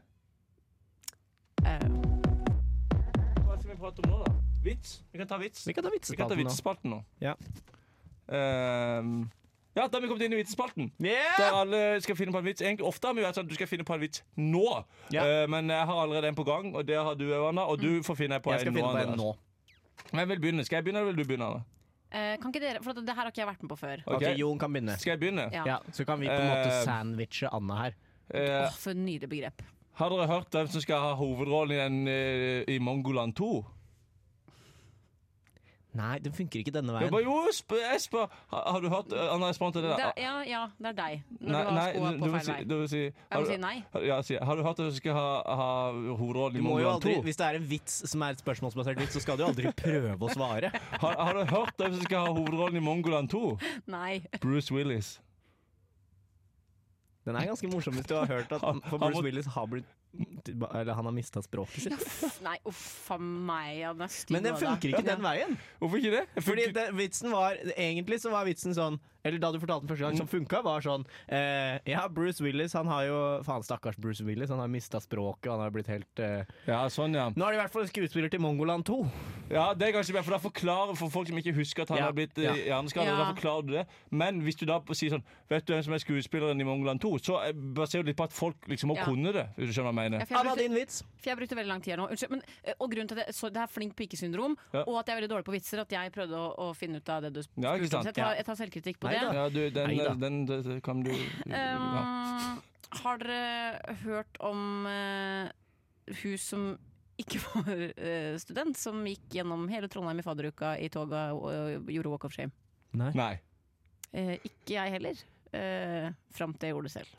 D: Eh,
C: Hva skal vi prate om nå, da? Vits? Vi kan ta vits.
B: Vi kan ta
C: Vi kan ta
B: vitsespalten nå.
C: vitsespalten nå.
B: Ja.
C: Ehm, ja, da har vi kommet inn i vitsespalten. Der alle skal finne på en vits. Egentlig ofte har vi vært sånn at du skal finne på en vits nå,
B: Ja. Mm.
C: Eh, men jeg har allerede en på gang, og det har du, Anna. Og du får finne på
B: Jeg skal
C: en
B: finne
C: nå.
B: på en
C: Andreas.
B: nå.
C: Hvem vil begynne? Skal jeg begynne, eller vil du begynne? Anna?
D: eh, kan ikke dere, for at det her har ikke jeg vært med på før.
C: Ok.
B: Ok, Jon kan begynne.
C: Skal jeg begynne?
D: Ja.
B: Ja, Så kan vi på en måte
C: Eh,
B: sandwiche Anna her.
C: Eh,
D: Åh, for et nydelig begrep.
C: har dere hørt hvem som skal ha hovedrollen i, den, eh, i Mongoland 2?
B: Nei, den funker ikke denne
C: Jeg
B: veien.
C: bare, jo, sp jeg spør, har, har du hørt eh, Anna, jeg spør til det
D: Det,
C: der.
D: er- ja, ja, det er deg.
C: Nei,
D: Når du har
C: nei,
D: skoa
C: du-
D: på
C: du må
D: feil
C: si-
D: vei.
C: du må si-
D: Jeg
C: har
D: må
C: du-
D: si nei.
C: Ja, si, har du hørt at du skal ha, ha hovedrollen
B: Du
C: i
B: må jo
C: Mongoland
B: aldri,
C: 2?
B: hvis det er en vits som er et spørsmålsbasert vits, så skal du aldri prøve å svare.
C: Har, har du hørt hvem som skal ha hovedrollen i Mongoland 2?
D: Nei.
C: Bruce Willis.
B: Den er ganske morsom hvis du har hørt at
C: Han-
B: for
C: han
B: Bruce
C: må-
B: Willis har blitt Eller han har mista språket sitt.
D: Nei, uff a meg. Ja, den er stygg.
B: Men den
D: og da.
B: funker ikke den veien.
C: Hvorfor ikke det? Jeg
B: Fordi
C: funker-
B: det, vitsen var Egentlig så var vitsen sånn Eller da du fortalte den første gang, som funka, var sånn eh, Ja, Bruce Willis, han har jo Faen, stakkars Bruce Willis. Han har mista språket, han har blitt helt eh,
C: Ja, sånn, ja.
B: Nå er det i hvert fall skuespiller til Mongoland 2.
C: ja. Det er kanskje bedre, for da forklarer for folk som ikke husker at han
B: Ja,
C: har blitt ja.
B: ja.
C: hjerneskada.
D: Ja.
C: Da forklarer du det. Men hvis du da sier sånn Vet du hvem som er skuespilleren i Mongoland 2? Så eh, baserer du litt på at folk liksom må
D: Ja.
C: kunne det. Hvis du skjønner hva jeg
D: Ja,
C: mener.
D: for jeg
B: Anna,
D: brukte-
B: din vits.
D: For jeg brukte veldig lang tid her nå. Unnskyld, men, eh, og grunnen til at jeg, så det er flink pike-syndrom,
C: Ja.
D: og at jeg er veldig dårlig på vitser, at jeg prøvde å, å finne ut av det du spurte
C: Ja, ikke
D: om.
C: sant?
D: Så jeg tar,
B: Ja.
D: jeg tar selvkritikk på
B: Neida.
D: det.
C: Ja, du, den,
B: Neida.
C: den, den, den kan du ja.
D: Um, har dere hørt om eh, hun som ikke var eh, student, som gikk gjennom hele Trondheim i fadderuka i toga og, og gjorde walk of shame?
C: Nei.
D: Eh, ikke jeg heller. Uh, Fram til jeg gjorde det selv.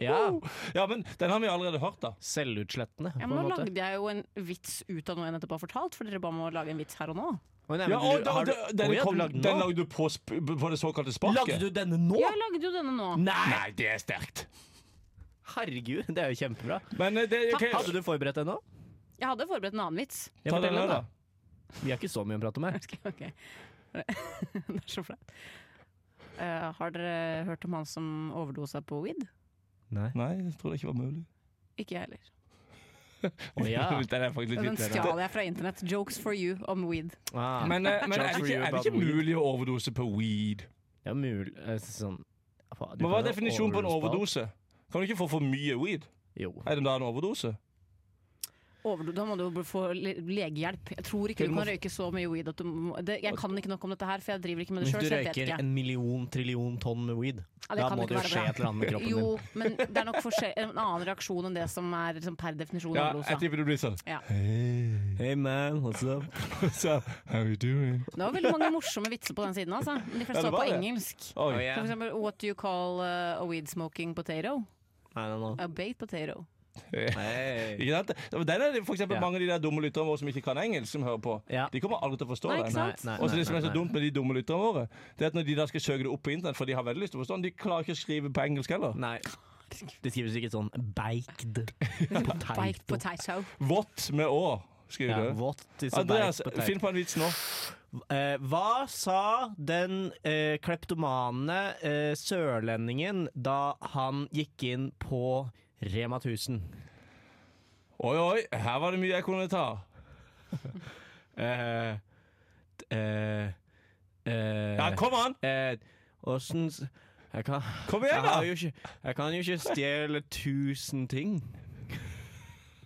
B: Ja.
C: ja, men den har vi allerede hørt, da.
B: Selvutslettende,
D: Ja,
B: på
D: men
B: en
D: nå
B: måte.
D: lagde jeg jo en vits ut av noe jeg nettopp har fortalt, for dere ba meg å lage en vits her og nå.
B: Å, nei, men
C: Ja,
B: du-
C: og, da-
B: har du-
C: da- den,
B: Å, ja, du
C: kom,
B: lagde den
C: den
B: nå?
C: lagde du på, sp på det såkalte sparket.
B: Lagde du denne nå?
D: Jeg lagde jo denne nå.
B: Nei!
C: Nei, det er sterkt.
B: Herregud, det er jo kjempebra.
C: Men eh, det ok,
B: Hadde du forberedt deg nå?
D: Jeg hadde forberedt en annen vits.
B: Ja,
C: ta
B: fortell
C: den
B: den,
C: her, da.
B: da. Vi har ikke så mye å prate om her.
D: Ok, ok. Det er så flaut. Eh, har dere hørt om han som overdosa på weed?
B: Nei.
C: Nei, jeg tror det ikke var mulig.
D: Ikke jeg heller.
B: Å ja.
C: den er faktisk litt
D: Den
C: vittig, den.
D: stjal jeg fra internett. Jokes for you om weed.
B: Ah.
C: Men, eh, men
B: Jokes
C: er, det
B: for
C: ikke,
B: you
C: er det
B: about
C: ikke
B: weed.
C: mulig å overdose på weed?
B: Ja, mul... eh, Sånn Faen, du
C: Men Hva
B: kan
C: er
B: jo
C: definisjonen på en
B: overspalt.
C: overdose? Kan du ikke få for mye weed?
B: Jo.
C: Er det da en overdose?
D: Overdo da må du jo få le- legehjelp. Jeg tror ikke
C: Du
D: du
C: må
D: kan røyke så mye weed at du må det, Jeg kan ikke nok om dette her, for jeg driver ikke med det
B: Hvis
D: sjøl,
B: du
D: så jeg vet
B: røyker
D: ikke.
B: en million trillion tonn med weed,
D: Ja, det
B: da
D: kan
B: må det
D: ikke
B: jo
D: være
B: skje
D: bra.
B: et eller annet med kroppen
D: Jo,
B: din.
D: men det er nok forskjell- en annen reaksjon enn det som er liksom, per definisjon altså.
C: Ja,
D: overdosa.
C: jeg tipper det blir sånn.
D: Ja.
C: Hey,
B: Hey man, what's up?
C: so, how you doing?
D: Det var veldig mange morsomme vitser på den siden, altså. Men De
C: Ja,
D: fleste
C: det
D: var på
C: var det.
D: engelsk.
C: Oi.
B: Oh, yeah.
D: For eksempel What do you call uh, a weed smoking potato?
B: I don't know.
D: A baked potato.
B: Hey.
C: Ikke sant? Og Den er det for eksempel
B: Ja.
C: mange av de der dumme lytterne våre som ikke kan engelsk, som hører på.
B: Ja.
C: De kommer aldri til å forstå
D: Nei,
C: det.
D: ikke sant?
B: Nei, nei,
C: Og så
B: nei,
C: det som er så
B: nei.
C: dumt med de dumme lytterne våre, Det er at når de da skal søke det opp på internett, for de har veldig lyst til å forstå den, de klarer ikke å skrive på engelsk heller.
B: Nei. Det skrives ikke sånn baked
D: Baked
B: potato.
D: potato.
C: Vått med å,
B: Ja,
C: skriver du.
B: what is a
C: Andreas,
B: baked potato?
C: finn på en vits nå.
B: Eh, hva sa den eh, kleptomane eh, sørlendingen da han gikk inn på Rema 1000?
C: Oi, oi, her var det mye jeg kunne ta.
B: Eh, t- eh, eh,
C: Ja, kom an!
B: eh, Åssen s- jeg kan,
C: Kom
B: jeg,
C: igjen,
B: har
C: da!
B: jo ikke, jeg kan jo ikke stjele tusen ting.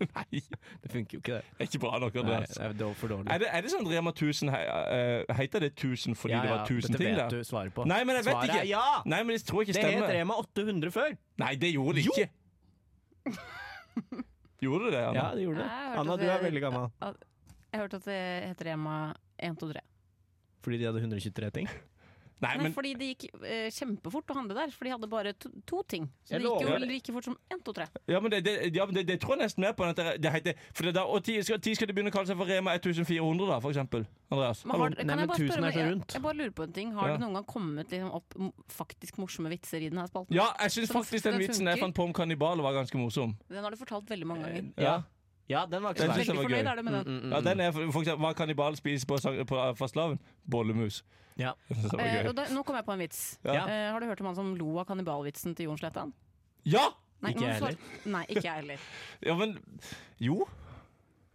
C: Nei,
B: Det funker jo ikke, det.
C: det er ikke bra nok,
B: Nei,
C: Andreas.
B: det er do- for dårlig.
C: Er det, er det sånn Rema 1000 he, eh, Heter det 1000 fordi det var 1000
B: dette
C: ting
B: vet
C: der?
B: du svaret på.
C: Nei, men jeg vet
B: Svaret
C: ikke.
B: er ja!
C: Nei, men jeg tror ikke
B: Det het
C: stemmer.
B: Rema 800 før.
C: Nei, det gjorde det
B: Jo.
C: ikke. Gjorde det det, Anna?
B: Ja, det gjorde det.
D: Jeg hørte
B: Anna, du
D: at
B: er
D: det-
B: veldig gammel.
D: Jeg hørte at det heter Rema 1, 2, 3.
B: Fordi de hadde 123 ting.
C: Nei,
D: Nei,
C: men
D: fordi det gikk eh, kjempefort å handle der, for de hadde bare to, to ting. Så
B: Jeg
D: det gikk jo
B: lover
D: vel like fort som 1, 2, 3.
C: Ja, men det, det, ja, men det, det tror jeg nesten mer på enn at det, det heter For det er da, og ti skal, ti skal de begynne å kalle seg for Rema 1400, da, for eksempel. Andreas.
D: Men har,
C: Hallo.
D: kan
B: Nei, men
D: jeg bare
B: tusen
D: spørre, om-
B: er så
D: jeg,
B: rundt.
D: jeg bare lurer på en ting. Har
C: Ja.
D: det noen gang kommet liksom opp m- faktisk morsomme vitser i denne spalten?
C: Ja, jeg syns
D: Som
C: faktisk den
D: det
C: vitsen jeg
D: funker.
C: fant på om kannibaler, var ganske morsom.
D: Den har du fortalt veldig mange
B: Eh,
D: ganger.
C: Ja,
B: Ja, den var
C: Den
B: ikke så
C: synes
B: verst.
C: jeg var
D: Veldig fornøyd
C: gøy.
D: er du med den.
B: Mm, mm,
C: ja
B: mm.
C: den er for, for eksempel, Hva kannibal spiser på, sang- på fastelavn? Bollemus.
B: Ja.
C: Jeg synes det var
D: Eh,
C: gøy.
D: og da, nå kom jeg på en vits.
B: Ja.
D: Eh, har du hørt om han som lo av kannibalvitsen til Jon Slettan?
C: Ja!
D: Nei,
B: Ikke
D: nå må
B: jeg
D: du svare- Nei, ikke jeg heller.
C: Ja, men Jo.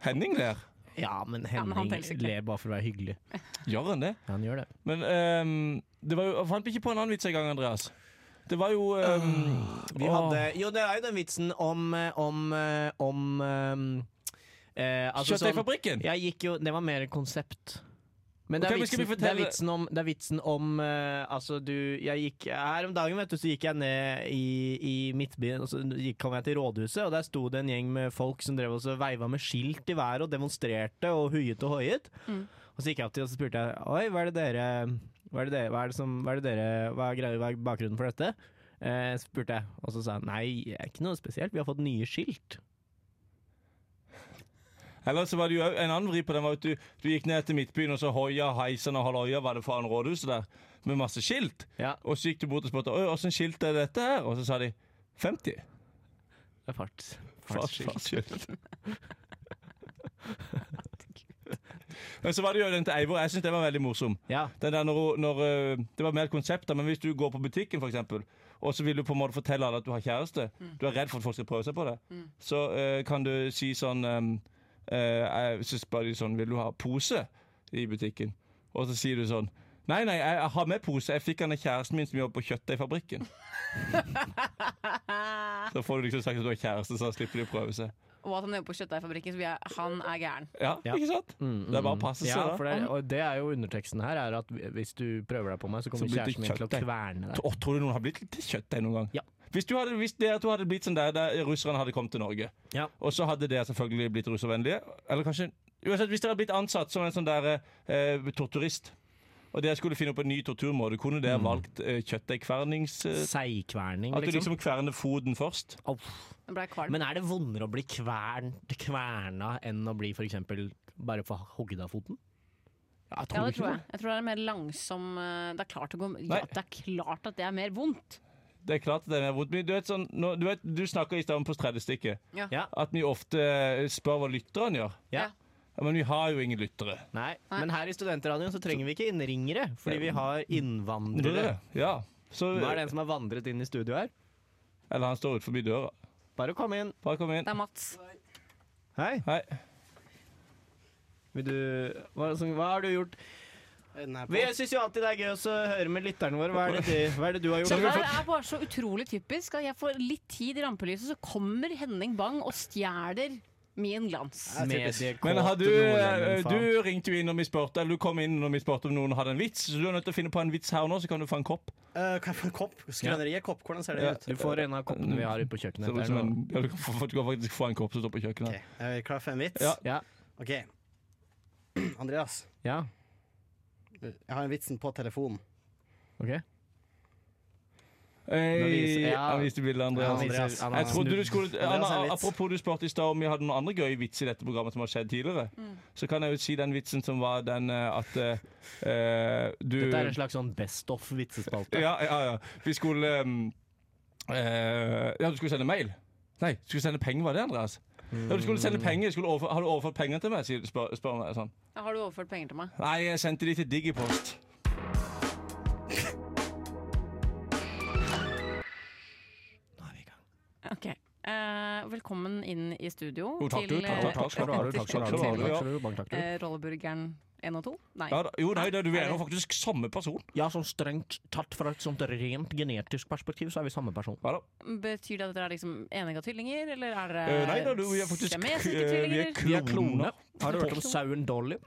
C: Henning der.
B: ja, men
D: Ja, men han
B: Henning
D: teller ikke.
B: ler bare for å være hyggelig.
C: Gjør han det?
B: Ja, han gjør det.
C: Men ehm, det var jo jeg Fant ikke på en annen vits engang, Andreas. Det var jo ehm,
B: Øh, Vi
C: åh.
B: hadde, jo, det er jo den vitsen om eh, om, eh, om eh, eh, altså sånn,
C: Kjøttdeigfabrikken!
B: Jeg gikk jo Det var mer et konsept. Men det
C: Ok,
B: er,
C: men skal
B: vitsen,
C: vi
B: det er
C: fortelle-
B: vitsen om, det er vitsen om eh, Altså, du Jeg gikk Her om dagen, vet du, så gikk jeg ned i, i Midtbyen, og så gikk, kom jeg til rådhuset, og der sto det en gjeng med folk som drev og så veiva med skilt i været og demonstrerte og huiet og hoiet.
D: Mm.
B: Og så gikk jeg opp til og så spurte jeg Oi, hva er det dere Hva er det dere Hva er, det som, hva er, det dere, hva er, greia, hva er bakgrunnen for dette? Eh, spurte jeg, og så sa han nei, det er ikke noe spesielt, vi har fått nye skilt.
C: Eller så var det jo au- en annen vri på den. var at du, du gikk ned til Midtbyen, og så hoia heisen og halloia var det faen rådhuset der, med masse skilt.
B: Ja.
C: Og så gikk du bort og spurte «Oi, åssen skilt er dette her, og så sa de 50.
B: Det er farts.
C: Fartsskilt. Men så var det jo den til Eivor. Jeg syns den var veldig morsom.
B: Ja.
C: Den der når, hun- når, øh, det var mer konsepter, men hvis du går på butikken, for eksempel, og så vil du på en måte fortelle alle at du har kjæreste, du er redd for at folk skal prøve seg på det, så øh, kan du si sånn um, Så spør de sånn Vil du ha pose i butikken? Og så sier du sånn Nei, nei, jeg, jeg har med pose. Jeg fikk den av kjæresten min som jobber på kjøttdeigfabrikken. så får du liksom sagt at du har kjæreste, så slipper de å prøve seg.
D: Eh, Og at han jobber på kjøttdeigfabrikken, så blir jeg Han er gæren.
C: Ja,
B: Ja. mm,
C: ikke sant? Det er bare å passe seg,
B: Ja,
C: da.
B: for det, er, og det er jo underteksten her, er at hvis du prøver deg på meg, så kommer
C: Så blir du
B: kjæresten min til å
C: kjøttdeig.
B: kverne deg.
C: Tro- Tror du noen har blitt til kjøttdeig noen gang?
B: Ja.
C: Hvis, du hadde, hvis dere to hadde blitt sånn der, der russerne hadde kommet til Norge,
B: Ja.
C: og så hadde dere selvfølgelig blitt russervennlige Eller kanskje Uansett, hvis dere hadde blitt ansatt som en sånn der eh, torturist, og dere skulle finne opp en ny torturmåte, kunne dere valgt eh, kjøttdeigkvernings... Eh,
B: Seigkverning,
C: at du
B: liksom.
C: liksom kverner foten først?
B: Au.
D: Nå ble jeg kvalm.
B: Men er det vondere å bli kvernt, kverna enn å bli for eksempel bare få hogd av foten?
C: Ja,
D: Ja, det
C: du ikke
D: tror jeg. Jeg tror det er mer langsom eh, Det er klart, å gå, ja,
C: Nei.
D: det, er klart at det er mer vondt.
C: Det er klart at det er mer vondt. Men du vet sånn nå, Du, vet, du snakka i stad om på tredjestykket
D: Ja.
B: Ja.
C: at vi ofte eh, spør hva lytteren gjør.
B: Ja.
C: Ja, Men vi har jo ingen lyttere.
B: Nei.
D: Nei.
B: Men her i Studentradioen så trenger vi ikke innringere, fordi vi har innvandrere.
C: Ja. Så,
B: Hva er det en som har vandret inn i studio her?
C: Eller han står ut forbi døra.
B: Bare kom inn.
C: Bare kom inn.
D: Det er Mats.
B: Hei.
C: Hei.
B: Vil du Hva, som- hva har du gjort? Vi syns jo alltid det er gøy også å høre med lytterne våre. Hva er det, de, hva er det du har
D: Det
B: gjort?
D: der
C: sånn-
D: er bare så utrolig typisk at jeg får litt tid i rampelyset, så kommer Henning Bang og stjeler min glans.
B: Mediekåte
C: Men har du, eh,
E: eh,
B: nordlendinger, faen.
C: du ringte jo inn når vi spurte Eller du kom inn når vi spurte om noen hadde en vits, så du er nødt til å finne på en vits her nå, så kan du få en kopp.
E: Eh, kan jeg få en kopp? Skrøneriet kopp, hvordan ser det
C: Ja.
E: ut?
B: Du får en av koppene vi har ute på
C: Ser
B: kjøkkenet.
C: ut
B: her
C: som
B: nå.
C: en, ja, du, kan få, du kan faktisk få en kopp som står på
E: Ok,
C: kjøkkenet.
E: Er vi klar for en vits?
C: Ja.
B: Ja.
E: Ok. Andreas,
B: ja.
E: jeg har en vitsen på telefonen.
B: Ok.
C: Hey,
B: Nå viser- ja.
C: Han viste bildet, Andreas.
B: Ja,
E: Andreas.
B: han-
C: Jeg trodde du skulle
E: Andreas har en
C: Anna,
E: vits.
C: Apropos du spurte i stad om vi hadde noen andre gøye vitser i dette programmet som har skjedd tidligere, så kan jeg jo si den vitsen som var den eh, at eh, du
B: Dette er en slags sånn best of-vitsespalte.
C: Ja, ja, ja. Vi skulle um, eh, Ja, du skulle sende mail. Nei, du skulle sende penger, var det, Andreas? Ja, du skulle sende penger. Du Skulle overfor, har du overført penger til meg? sier- Spør, spør meg sånn.
D: Har du overført penger til meg?
C: Nei, jeg sendte de til Digipost.
D: Ok. Eh, velkommen inn i studio
C: Jo, takk, du.
D: til
C: Takk, takk, takk skal du ha, du. Takk skal du ha, du.
B: Takk skal du ha.
D: eh, rolleburgeren Én og to? Nei.
C: Ja, da, jo, nei, da, du er jo faktisk samme person.
B: Ja, sånn strengt tatt fra et sånt rent genetisk perspektiv, så er vi samme person.
C: Ja, da.
D: Betyr det at dere er liksom enegga tvillinger, eller er dere
C: Eh, nei da, du vi er faktisk
D: siamesiske
C: eh, vi er
D: tvillinger?
B: Vi er klone.
C: kloner.
B: Har du hørt om sauen Dolly?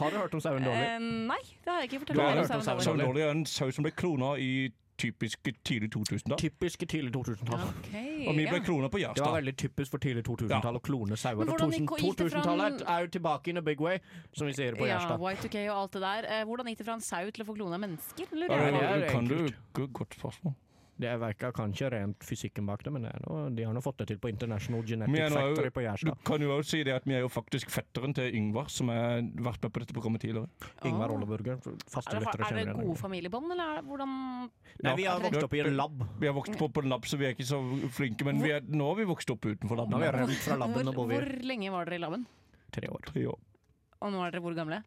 B: Har du hørt om sauen Dolly?
D: Eh, nei, det har jeg ikke
B: Du har
D: fortalt meg.
B: hørt om
D: Sarah
B: Sarah
D: Dolly.
C: Saul Dolly er en sau som ble klona i typisk tidlig 2000. da
B: Typisk tidlig 2000-tall.
D: Ok,
C: Og vi ble
D: ja.
C: klona på
B: Det var
C: Gjerstad.
B: veldig typisk for tidlig 2000-tall å klone sauer.
D: Men
B: Og
D: hvordan
B: 1000-
D: gikk- gikk det fra
B: 2000-tallet
D: en-
B: er jo tilbake in a big way, som vi sier på
D: Ja,
B: Gjerstad.
D: Y2K og alt det der. Eh, hvordan gikk det fra en sau til å få klone av mennesker? Lurer
C: Ja,
D: jeg
B: det
D: på.
B: er
C: det
B: jo
C: kan du
B: enkelt.
C: Go- Godt spørsmål.
B: Det verka kanskje rent fysikken bak det, men det er noe, de har nå fått det til på International
C: Vi er
B: Genetic
C: nå jo-
B: Factory på
C: Du
B: Gjerstad.
C: kan jo også si det at vi er jo faktisk fetteren til Yngvar, som har vært med på dette programmet tidligere.
B: Ingvar Olleburger, faste
D: Er det,
B: lyttere
D: er det
B: kjenner igjen.
D: gode familiebånd, eller er det, hvordan
B: Nei, vi har
D: Ja.
B: vokst opp i en lab.
C: Vi har vokst opp på en lab, så vi er ikke så flinke, men vi er, nå har vi vokst opp utenfor
B: Nå har vi
C: laben.
B: rømt fra laben og
D: hvor,
B: bor i
D: hvor lenge var dere i laben?
B: tre år.
C: Tre år.
D: Og nå er dere hvor gamle?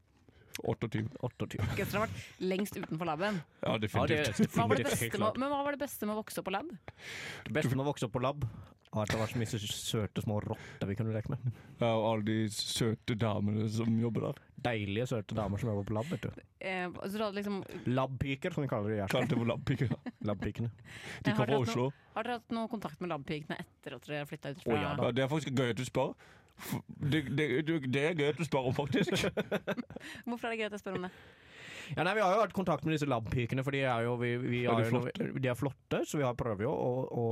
C: 28.
B: 28.
D: Ok, så dere har vært lengst utenfor laben.
C: Ja,
B: Ja, det er
C: definitivt.
D: Hva var det
B: definitivt helt
D: beste med,
B: klart.
D: men hva var det beste med å vokse opp på lab?
B: Det beste med å vokse opp på lab, var at det var så mye søte små rotter vi kunne leke med.
C: Ja, og alle de søte damene som jobber der.
B: Deilige, søte damer som jobber på lab, vet du.
D: Eh, så du hadde liksom,
B: Labpiker, som vi kaller det i Gjerstad.
C: Kalt det for labpiker.
B: Labpikene.
C: De
D: Eh, har
C: kommer fra
D: dere hatt
C: Oslo.
D: har dere hatt noe kontakt med labpikene etter at dere flytta ut? Fra,
B: Å, ja da.
C: Ja, det er faktisk gøy at du spør. F- Det, det, det- det er gøy at du spør om, faktisk.
D: Hvorfor er det gøy at jeg spør om det?
B: Ja, nei, vi har jo vært i kontakt med disse labpikene, for de er jo, vi, vi
C: Er
B: har
C: de
B: jo noe- de er flotte, så vi har prøver jo å, å,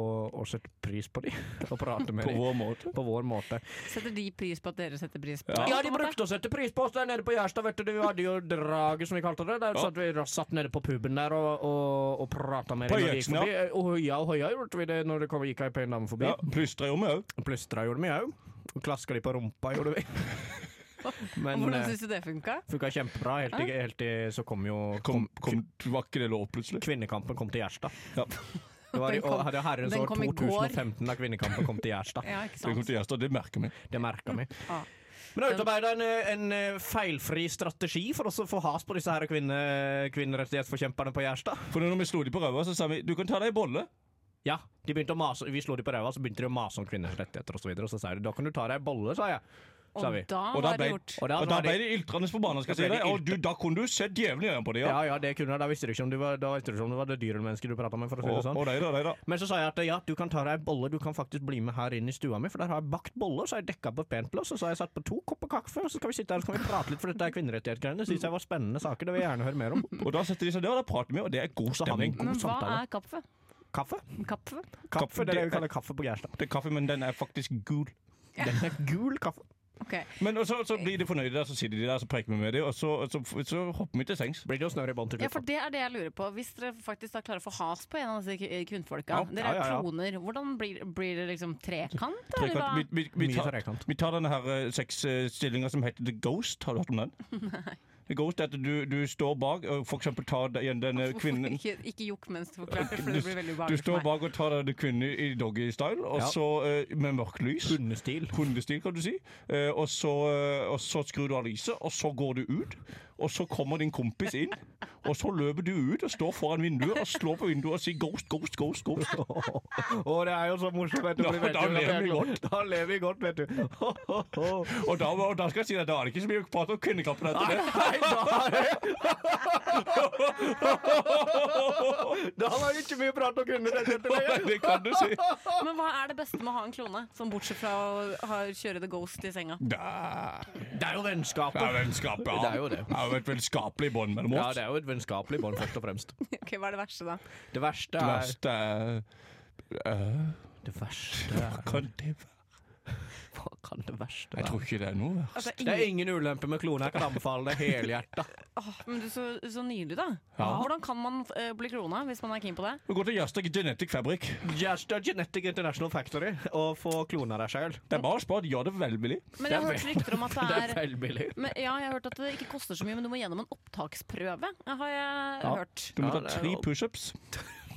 B: å sette pris på dem og prate med
C: På
B: dem.
C: vår måte.
B: På vår måte.
D: Setter de pris på at dere setter pris på
B: Ja,
D: det?
B: de brukte å sette pris på oss der nede på Gjerstad, vet du. Vi hadde jo draget, som vi kalte det. Der
C: Ja.
B: satt vi ras- satt nede på puben der og, og, og prata med
C: På
B: dem. når de gikk
C: Gjøksen,
B: forbi. Eh, Og høya og høya gjorde vi det når det kom, gikk ei pen dame forbi.
C: Ja, Plystra gjør vi òg.
B: Plystra gjorde vi òg. Og Klaska de på rumpa gjorde vi. Men
D: Hvordan
B: eh,
D: syns du det funka?
B: funka kjempebra, helt til, helt til så kom jo
C: Kom, kom, var ikke det lov, plutselig?
B: Kvinnekampen kom til Gjerstad.
C: Ja.
B: Det var i,
D: Den kom-
B: og hadde herrens
D: den
B: år
D: kom i går.
B: 2015 da kvinnekampen kom til Gjerstad.
D: Ja, ikke
C: Det kom
D: sant? Ah,
C: til Gjerstad, det merker vi.
B: Det merka vi.
D: Ja.
B: Men jeg utarbeida en, eh, en eh, feilfri strategi for oss å få has på disse her kvinne, kvinnerettighetsforkjemperne på Gjerstad.
C: For når vi slo de på ræva, så sa vi du kan ta deg en bolle.
B: Ja, de begynte å mase, Vi slo de på ræva, så begynte de å mase om kvinners rettigheter osv. Og så sa de da kan du ta deg ei bolle, sa jeg. Sa vi.
D: Og da
C: Og da
D: var det
C: ble-
D: gjort.
B: Og da
C: Og da
B: var
C: ble
B: de,
C: de iltrende forbanna, skal jeg si
B: Da ble
C: deg.
B: de
C: Og du, da kunne du sett djevelen i øynene på dem.
B: ja,
C: Ja.
B: ja, det kunne jeg. Da visste de ikke om, du var, da visste de ikke om det var det dyr eller menneske du prata med. for å si
C: Og,
B: det sånn.
C: og nei da, nei da.
B: Men så sa jeg at ja, du kan ta deg ei bolle, du kan faktisk bli med her inn i stua mi, for der har jeg bakt boller, så har jeg dekka på et pent plass, og så har jeg satt på to kopper kaffe, og så skal vi sitte her og så kan vi prate litt, for dette er kvinnerettighetsgreiene. Det syns jeg var spennende saker, det vil jeg gjerne høre mer om.
C: Og da setter de seg der, og da prater vi, og det er god
B: Så har vi
C: stemning.
B: en god
D: Men hva
B: samtale.
D: er kaffe?
B: Kaffe?
D: Kaffe?
B: Kaffe, det er det vi
C: det-
B: kaller kaffe på Gjerstad.
C: Det er kaffe, men den er faktisk gul.
B: Den er gul kaffe.
D: Ok.
C: Men og så, så blir de fornøyde der, så sitter de der, så preker vi med dem, og så, og så, så hopper vi til sengs.
B: Blir det jo snørr i bånn til
D: Ja,
B: slutt.
D: for det er det jeg lurer på. Hvis dere faktisk da klarer å få has på en av disse k- kvinnfolka,
B: Ja,
D: dere
B: ja,
D: er
B: ja, ja.
D: kloner, hvordan blir, blir det liksom trekant? eller
C: Trekant.
D: hva?
C: Vi, vi, vi,
B: Mye
C: tar,
B: trekant.
C: vi tar denne her eh, sexstillinga som heter The Ghost. Har du hørt om den? The Ghost er at du, du står bak og for eksempel tar da igjen denne
D: Hvorfor
C: kvinnen
D: Ikke, ikke jokk mens du forklarer, for
C: Du-
D: det blir
C: Du
D: veldig ubehagelig
C: står
D: for meg.
C: bak og tar denne kvinnen i doggystyle, og
B: Ja.
C: så eh, med mørkt lys.
B: Hundestil.
C: Hundestil, kan du si. Eh, og, så, eh, og så skrur du av lyset, og så går du ut. Og så kommer din kompis inn, og så løper du ut og står foran vinduet og slår på vinduet og sier 'ghost, ghost, ghost'. ghost.
B: Å, det er jo så morsomt, vet du.
C: Ja,
B: for vet
C: da
B: jo at jeg-
C: lever vi godt.
B: Da lever vi godt, vet du. Ho, ho, ho.
C: Og da, og da skal jeg si deg, da er det ikke så mye prat om kvinnekampen etter det.
B: Nei, da er det Da var det ikke mye prat om kvinnerettigheter
C: Nei,
B: lenger.
C: Det kan du si.
D: Men hva er det beste med å ha en klone, sånn bortsett fra å ha, kjøre the ghost i senga?
C: Da.
B: Det er jo
C: Det er
B: vennskapet.
C: vennskap, ja.
B: Det er jo det.
C: Det er jo et vennskapelig bånd mellom
B: Ja,
C: oss.
B: det er jo et vennskapelig bånd, først og fremst.
D: Ok, Hva er det verste, da?
B: Det verste
C: Det
B: er
C: verste er Eh,
B: Det verste er
C: Kan det være
B: Hva kan det verste
C: Jeg tror
B: være?
C: ikke det er noe.
D: Altså,
B: Det er
D: ingen...
B: ingen ulempe med klone. Jeg kan anbefale det helhjerta.
D: Åh, men du, så, så nydelig, da.
C: Ja.
D: Hvordan kan man eh, bli klona hvis man er keen på det?
C: Gå til Jastak Genetic Fabric.
B: Just a Genetic International Factory og få klona deg sjøl.
C: Det er bare å spørre. Ja, det er velvillig.
D: Men jeg har hørt rykter om at det er
B: veldig billig.
D: men, ja, jeg har hørt at det ikke koster så mye, men du må gjennom en opptaksprøve. Har jeg
C: Ja.
D: hørt.
C: Du må
B: Ja,
C: ta
B: det er
C: tre
B: jo-
C: pushups.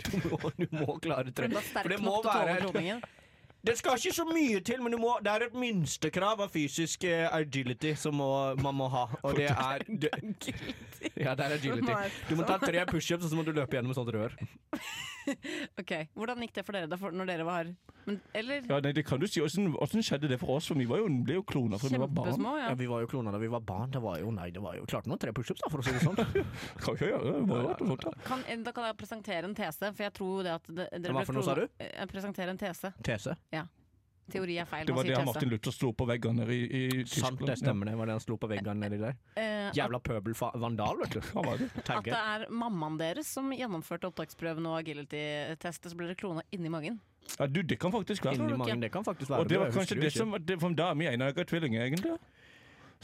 B: Du må, du må klare tre.
D: Hun var
B: For
D: sterk
B: det må
D: nok til å tåle
B: være
D: kloningen.
B: Det skal ikke så mye til, men du må, det er et minstekrav av fysisk eh, agility som må, man må ha. Og det er det, Ja, det er agility. Du må ta tre pushups, og så må du løpe gjennom et sånt rør.
D: Ok, Hvordan gikk det for dere da for, når dere var men, Eller
C: Ja, nei, det kan du si. Hvordan, hvordan skjedde det for oss? For vi var jo, ble jo kloner fra vi var barn.
D: kjempesmå? Ja.
B: Ja, vi var jo klona da vi var barn. Det var jo, nei, det var jo klart noen tre pushups, da, for å si det sånn.
C: Kan ikke gjøre det. Bare rart og sånt, da.
D: Kan, eh, da kan jeg presentere en tese, for jeg tror det at det, dere
B: Hva for noe sa du?
D: Jeg presenterer en tese.
B: Tese.
D: Teori er feil.
C: Det var
D: man
C: det
D: sier tese.
C: Martin Luther slo på veggene i, i
B: Sant,
C: Tyskland.
B: det stemmer det. Var det han slo på veggen nedi der?
D: Eh, at-
B: Jævla pøbelvandal, vet du.
C: Ja, hva er det?
D: At det
B: Tagge.
D: er mammaen deres som gjennomførte opptaksprøven og agility-testet, så ble dere klona inni magen.
C: Ja, du, det kan faktisk være.
B: Inni magen, det kan faktisk være.
C: Og det var
B: jeg
C: kanskje
B: husker jo
C: det
B: ikke.
C: som det, For da er vi enegga tvillinger, egentlig. Så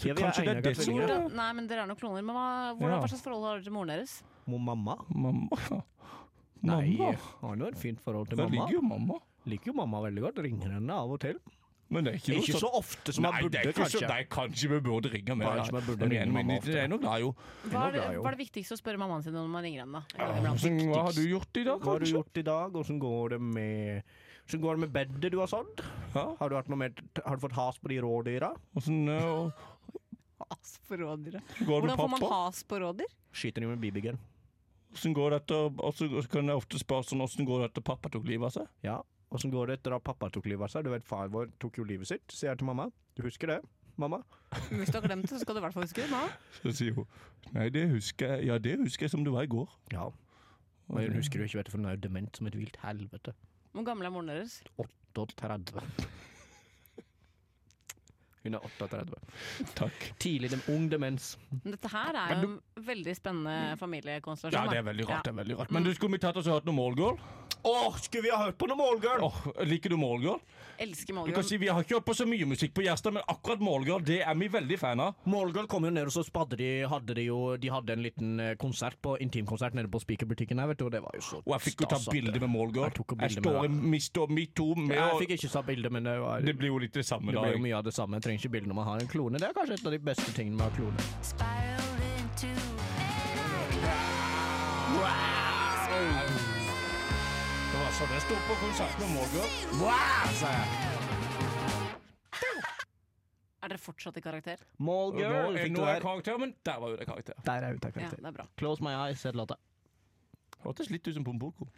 B: Ja, vi er
C: kanskje det er
B: enegga
C: det som
B: tvillinger.
C: er
D: Hvordan, nei, men dere er nok kloner. Men hva, hvordan,
C: Ja.
D: hva slags forhold har dere til moren deres?
B: Mo- Mamma?
C: Mamma.
B: Nei,
C: Mamma.
B: har jo et fint forhold til
C: Der
B: mamma.
C: ligger jo mamma.
B: Liker jo mamma veldig godt. Ringer henne av og til.
C: Men det er ikke noe
B: Ikke
C: sånn-
B: så ofte som man
C: Nei, det
B: burde,
C: er ikke så-
B: kanskje.
C: Nei, kanskje vi burde ringe mer.
B: Kanskje man burde
C: Men
B: ringe
C: igjen, men
B: mamma
C: det- Det er nok da, jo.
D: Hva er det,
B: glad i henne.
D: hva er det viktigste å spørre mammaen sin når man ringer henne? da?
C: Hvordan- Hva har du gjort i dag,
B: Hva har du
C: kanskje?
B: gjort i dag? Åssen går det med Hvordan går det med bedet du har sådd?
C: Ja.
B: Har du, hatt noe mer, har du fått has på de rådyra?
C: Hvordan eh, og-
D: Has på
C: går
D: rådyr.
C: det med
D: Hvordan får man
C: pappa?
D: has på rådyr?
B: Skyter de med bibigen.
C: Hvordan går dette? Og så og så kan jeg ofte spørre sånn, hvordan går det etter pappa tok livet av seg?
B: Ja. Åssen går det etter at pappa tok livet av seg? Du vet, far vår tok jo livet sitt, sier jeg til mamma. Du husker det, mamma?
D: Hvis du har glemt det, så skal du i hvert fall huske det nå.
C: Så sier hun, nei, det husker jeg, ja, det husker jeg som det var i går.
B: Ja.
C: Og
B: Men hun
C: det-
B: husker jo ikke, vet du, for hun er jo dement som et vilt helvete.
D: Hvor gammel er moren deres?
B: 38. Hun er 38.
C: Takk.
B: Tidlig dem, ung demens.
D: Men Dette her er jo en veldig spennende familiekonstellasjon.
C: Mm. Ja, det er
D: da.
C: veldig rart,
D: Ja.
C: det er veldig rart. Men du skulle vi tatt oss og hørt noe målgål?
B: Åh, skulle vi ha hørt på noe målgirl?
C: Åh, liker du målgål?
D: Elsker
C: Du kan
D: Målgården.
C: si, vi har ikke hørt på så mye musikk på Gjerstad, men akkurat målgål, det er vi veldig fan av.
B: Målgirl kom jo ned, og så spadde de, hadde de jo De hadde en liten eh, konsert på intimkonsert nede på spikerbutikken her, vet du, og det var jo så
C: Og jeg fikk jo ta
B: stas at
C: bilde
B: det-
C: med målgård.
B: Jeg tok jo
C: Jeg
B: bilde med
C: står i
B: det.
C: vi står midt to med
B: Jeg
C: og
B: fikk ikke ta bilde, men det, var,
C: Det
B: det
C: blir jo litt det samme, da.
B: ble jo mye av det samme. Jeg trenger ikke bilde når man har en klone. Det er kanskje et av de beste tingene med å ha klone.
F: Spiraled into an
C: Det var sånn jeg sto på konsert med Målgård.
D: Er dere fortsatt i karakter?
C: Og Nå
B: Målgirl
C: er,
B: fikk du
C: nå er
B: der.
C: karakter, men der var jo det karakter.
B: Der er ute av
D: Ja,
B: karakter.
D: det er bra.
B: Close my eyes, het låta.
C: Hørtes litt ut som Pompoko.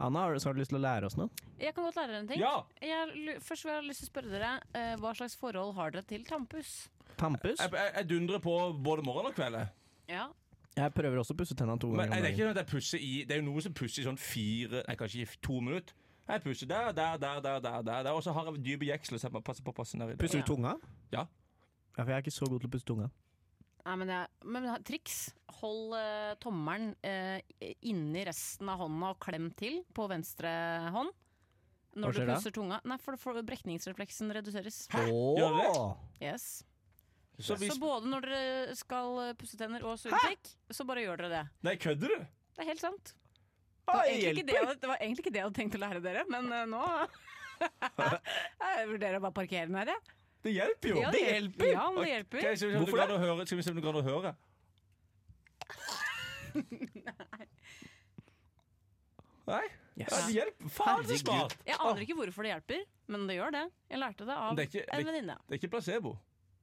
B: Anna, har du, har du lyst til å lære oss noe?
D: Jeg kan godt lære dere en ting.
C: Ja!
D: Jeg, lu- først vil jeg lyst til å spørre dere eh, Hva slags forhold har dere til tannpuss?
B: Tampus?
C: Jeg, jeg, jeg dundrer på både morgen og kveld. jeg.
D: Ja.
B: Jeg prøver også å pusse tennene to
C: Men
B: ganger
C: er
B: om
C: det er ikke
B: dagen.
C: sånn at jeg pusser i Det er jo noen som pusser i sånn fire Nei, kanskje i to minutter. Jeg pusser der, der, der, der, der, der, der. og så har jeg dyp jeksel, så jeg må passe på å passe ned i det.
B: Pusser du tunga?
C: Ja.
B: Ja, for jeg er ikke så god til å pusse tunga.
D: Nei, men, jeg, men ha- triks. Hold eh, tommelen eh, inni resten av hånda og klem til på venstre hånd.
B: Hva
D: Når du
B: skjer da?
D: pusser tunga Nei, for, for brekningsrefleksen reduseres.
C: Gjør det?
B: Åh.
D: Yes.
C: Så hvis
D: Så både når dere skal eh, pusse tenner og sugetikk, så bare gjør dere det.
C: Nei, kødder du? Ah,
D: Det er helt sant. Det
B: Oi,
D: var, egentlig ikke det, jeg
B: hjelper!
D: hadde- det var egentlig ikke det jeg hadde tenkt å lære dere, men eh, nå Jeg vurderer å bare parkere meg i det.
C: Det hjelper jo.
D: Ja, det hjelper! Ja, men det hjelper.
C: Ok, skal vi se om du
B: Hvorfor
C: klarer å høre- Skal vi se om du klarer å høre? Nei.
B: Yes.
C: Ja, det hjelper. Faen, så
B: Herregud.
C: smart!
D: Jeg aner ikke hvorfor det hjelper, men det gjør det. Jeg lærte det
C: Men
D: av
C: Det er ikke, det,
D: en
C: er ikke-
D: venninne.
C: Ah, det er ikke placebo.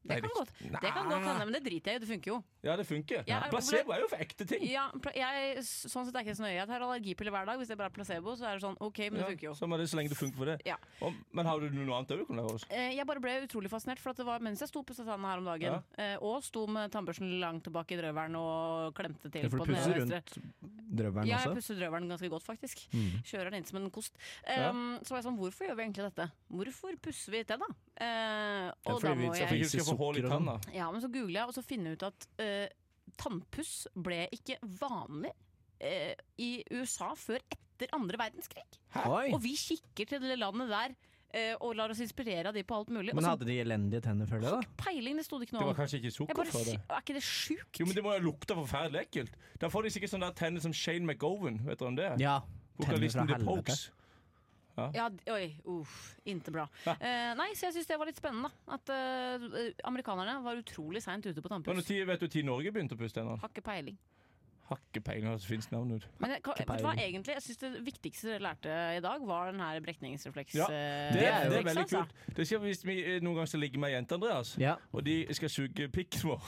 D: Det kan godt Det kan godt
C: Ah.
D: hende, men det driter jeg i. Det funker jo.
C: Ja, det funker.
D: Ja,
C: Nei. placebo er jo for ekte ting.
D: Ja, pla- jeg, s- sånn sett er jeg ikke så nøye. Jeg tar allergipiller hver dag. Hvis det bare er placebo, så er det sånn OK, men det
C: Ja,
D: funker jo.
C: Samme det, så lenge det funker for det.
D: Ja.
C: Og, men har du noe annet òg du kan lære oss?
D: Eh, Jeg bare ble utrolig fascinert, for at det var mens jeg sto på Satanna her om dagen, eh, og sto med tannbørsten langt tilbake i drøvelen og klemte til
B: Ja, for
D: på
B: du
D: den
B: pusser
D: ene venstre.
B: rundt drøvelen
D: Ja, jeg
B: også? Mm.
D: pusser drøvelen ganske godt, faktisk. Kjører den inn som en kost.
C: Ja.
D: Um, Så var jeg sånn, hvorfor gjør vi egentlig dette? Hvorfor pusser vi tenna? Eh,
B: Ja, fordi
D: og da
B: vi
D: må
B: skal
D: jeg
C: Fikk ikke få
B: sukker
C: hull i
B: og
C: tanna.
D: Ja, men så googler jeg, og så finner jeg ut at eh, tannpuss ble ikke vanlig eh, i USA før etter andre verdenskrig.
B: Oi.
D: Og vi kikker til det landet der eh, og lar oss inspirere av de på alt mulig.
B: Men
D: og
B: hadde de elendige tenner før det, da?
D: så peiling, det sto det ikke
C: Det
D: noe
C: var
D: om.
C: kanskje ikke
D: Jeg
C: sukker
D: bare,
C: fra
D: si-
C: det.
D: er ikke det sjukt?
C: Jo, men Det må jo lukte forferdelig ekkelt. Da får de sikkert sånne der tenner som Shane McGowan. Vet dere om det?
B: Ja.
C: Vokalisten The Pokes.
D: Ja, d- oi, uff, inte bra. Eh, nei, så jeg syns det var litt spennende. da, At eh, amerikanerne var utrolig seint ute på
C: Men
D: tannpuss.
C: når tid- Vet du når Norge begynte å pusse tennene?
D: Har ikke peiling.
C: Har ikke peiling på hva som finnes navn ut.
D: Men jeg, kan- vet du hva,
B: peiling.
D: egentlig, jeg syns det viktigste dere lærte i dag, var den her brekningsrefleks...
C: Ja,
D: eh,
B: er jo
C: Det, er- det er
D: refleks,
C: veldig
D: altså.
C: kult. Det skjer hvis vi eh, noen ganger skal ligge med ei jente, Andreas,
B: Ja.
C: og de skal suge pikken vår.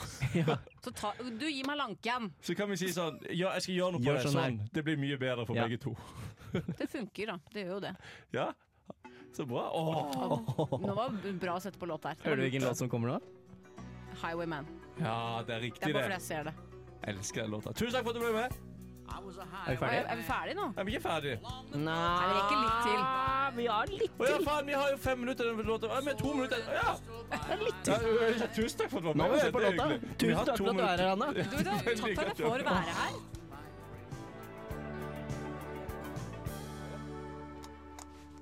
D: Så ta, du, gi meg lanken!
C: Så kan vi si sånn Ja, jeg skal gjøre noe på
B: Gjør
C: det.
B: sånn her.
C: Sånn. Det blir mye bedre for
B: Ja.
C: begge to.
D: Det funker, da. Det gjør jo det.
C: Ja, Så bra. Åh.
D: Nå var det bra å sette på låt der.
B: Hører du hvilken låt som kommer nå?
D: Highwayman.
C: Ja, det er
D: Det
C: riktig,
D: er bare fordi
C: det.
D: jeg ser det.
C: Jeg elsker den låta. Tusen takk for at du ble
B: Er
C: med.
B: vi
D: Og Er,
B: ferdige?
D: er vi ferdige nå?
C: Er vi ikke ferdig?
B: Nei,
D: vi rekker litt til.
B: Vi har litt
C: Å ja, faen, vi har jo fem minutter i den låta. Ja, men to minutter. Ja. Ja, tusen takk for at du var med.
B: Nå må vi høre på
C: Det er
B: låta.
C: hyggelig. Vi
B: Tusen
C: har
B: takk
C: to
B: for at du er her, Anna.
D: Du, du, takk for at jeg får være her.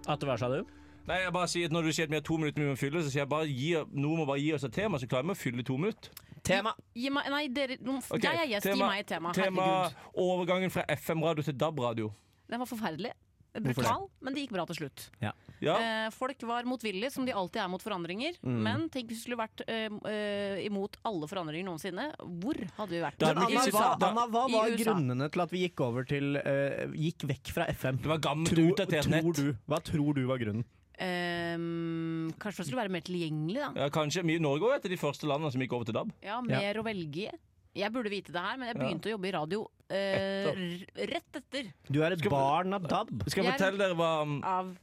B: Atte, hva sa du?
C: Nei, jeg bare sier at Når du sier at vi har to minutter vi må fylle, så sier jeg bare gi, noen må bare gi oss et tema, så klarer vi å fylle to minutter.
B: Tema.
D: Gi meg, nei, dere, nå,
C: Ok,
D: jeg er gjest, gi
C: tema-
D: meg et tema.
C: Tema
D: Herregud.
C: overgangen fra FM-radio til DAB-radio.
D: Den var forferdelig.
B: det?
D: Brutal, men det gikk bra til slutt.
C: Ja. Mm.
D: Eh, folk var motvillige, som de alltid er mot forandringer. Men tenk hvis vi skulle vært eh, eh, imot alle forandringer noensinne. Hvor hadde vi vært?
C: Da hadde
B: Men
C: vi ikke
B: Anna,
C: i
B: hva,
C: USA, da-
B: Anna, hva
D: i
B: var
D: USA.
B: grunnene til at vi gikk over til eh, Gikk vekk fra FM?
C: Det var gammelt
B: Tror-
C: utdatert
B: tror
C: nett.
B: du, hva tror du var grunnen?
D: Ehm, kanskje det skulle være mer tilgjengelig, da.
C: Ja, kanskje. Vi i Norge var jo et av de første landene som gikk over til DAB.
D: Ja, mer å velge i. Jeg burde vite det her, men jeg
C: Ja.
D: begynte å jobbe i radio eh, r- rett etter.
B: Du er et
C: Skal vi-
B: barn av DAB.
C: Skal jeg
D: Jeg-
C: fortelle dere hva um,
D: Av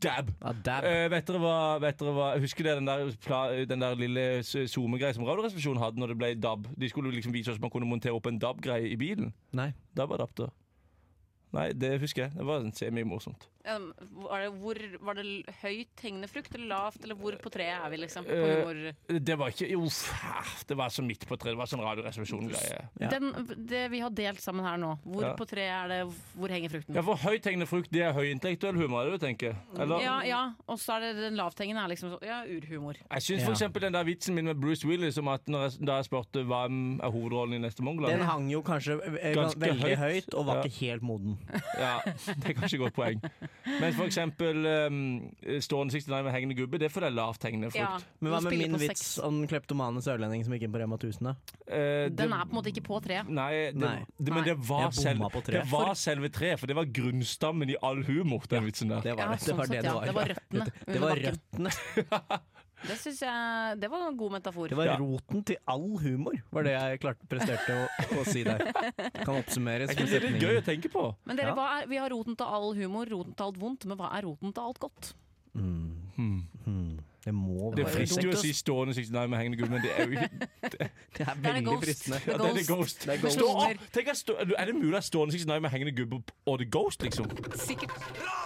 C: DAB
B: Ja, DAB.
C: Eh, vet, dere hva, vet dere hva Husker dere den der, pla, den der lille SoMe-greia som Radioresepsjonen hadde når det ble DAB? De skulle liksom vise oss man kunne montere opp en DAB-greie i bilen.
B: Nei.
C: DAB-adapter. Nei, det husker jeg. Det var semimorsomt.
D: Um, var, det, hvor, var det l- høyt hengende frukt, eller lavt, eller hvor på treet er vi, liksom? På
C: Eh,
D: humor.
C: Det var ikke Uff, det var så midt på treet. Det var sånn Radioresepsjonen-greie.
B: ja.
D: Den, det vi har delt sammen her nå, hvor
C: Ja.
D: på treet er det, hvor henger frukten?
C: Ja, for høythengende frukt, det er høyintellektuell humor, er det du tenker? Eller?
D: Ja, ja, og så er det den lavthengende er liksom så, ja, urhumor.
C: Jeg syns
B: Ja.
C: for eksempel den der vitsen min med Bruce Willis om at når jeg, da jeg spurte hvem er hovedrollen i neste
B: Den
C: Mongoland
B: hang jo kanskje eh,
C: Ganske
B: veldig høyt,
C: høyt,
B: og var
C: ja.
B: ikke helt moden.
C: Ja, det er kanskje et godt poeng. Men for eksempel um, stående 69 med hengende gubbe, det er for det er lavthengende
D: Ja,
C: frukt.
B: Men hva
D: vi
B: med
D: spiller
B: min
D: på
B: vits
D: sex.
B: om den kleptomane sørlending som gikk inn på Rema 1000? da?
C: Eh, det-
D: Den er på en måte ikke på treet.
C: Nei, det,
B: Nei.
C: Det, men det var,
B: Jeg bomma
C: selve,
B: på tre.
C: det var selve treet, for det var grunnstammen i all humor, den vitsen der.
B: Det var det. Det
D: sånn
B: var det
D: sett,
B: det
D: ja.
B: var.
D: Det var røttene
B: Det
D: under
B: var
D: bakken.
B: røttene.
D: Det synes jeg, det var en god metafor.
B: Det var
C: Ja.
B: roten til all humor, var det jeg klarte presterte å, å si der. Kan oppsummeres.
C: Er ikke det litt gøy å tenke på?
D: Men dere,
B: Ja.
D: hva er, vi har roten til all humor, roten til alt vondt, men hva er roten til alt godt?
B: Mm, hmm. Det må
C: Det
B: være
C: er fristende
B: dumt,
C: å si stående 69 med hengende gubbe, men det er jo ikke
B: ass. Det er
D: Det er
B: veldig
D: ghost.
B: fristende.
D: The
C: ja, det er
D: Ghost.
C: Ghost.
B: Det er Ghost.
C: Stå, å, tenk at stå, er det mulig at stående 69 med hengende gubbe og The Ghost, liksom?
D: Sikkert.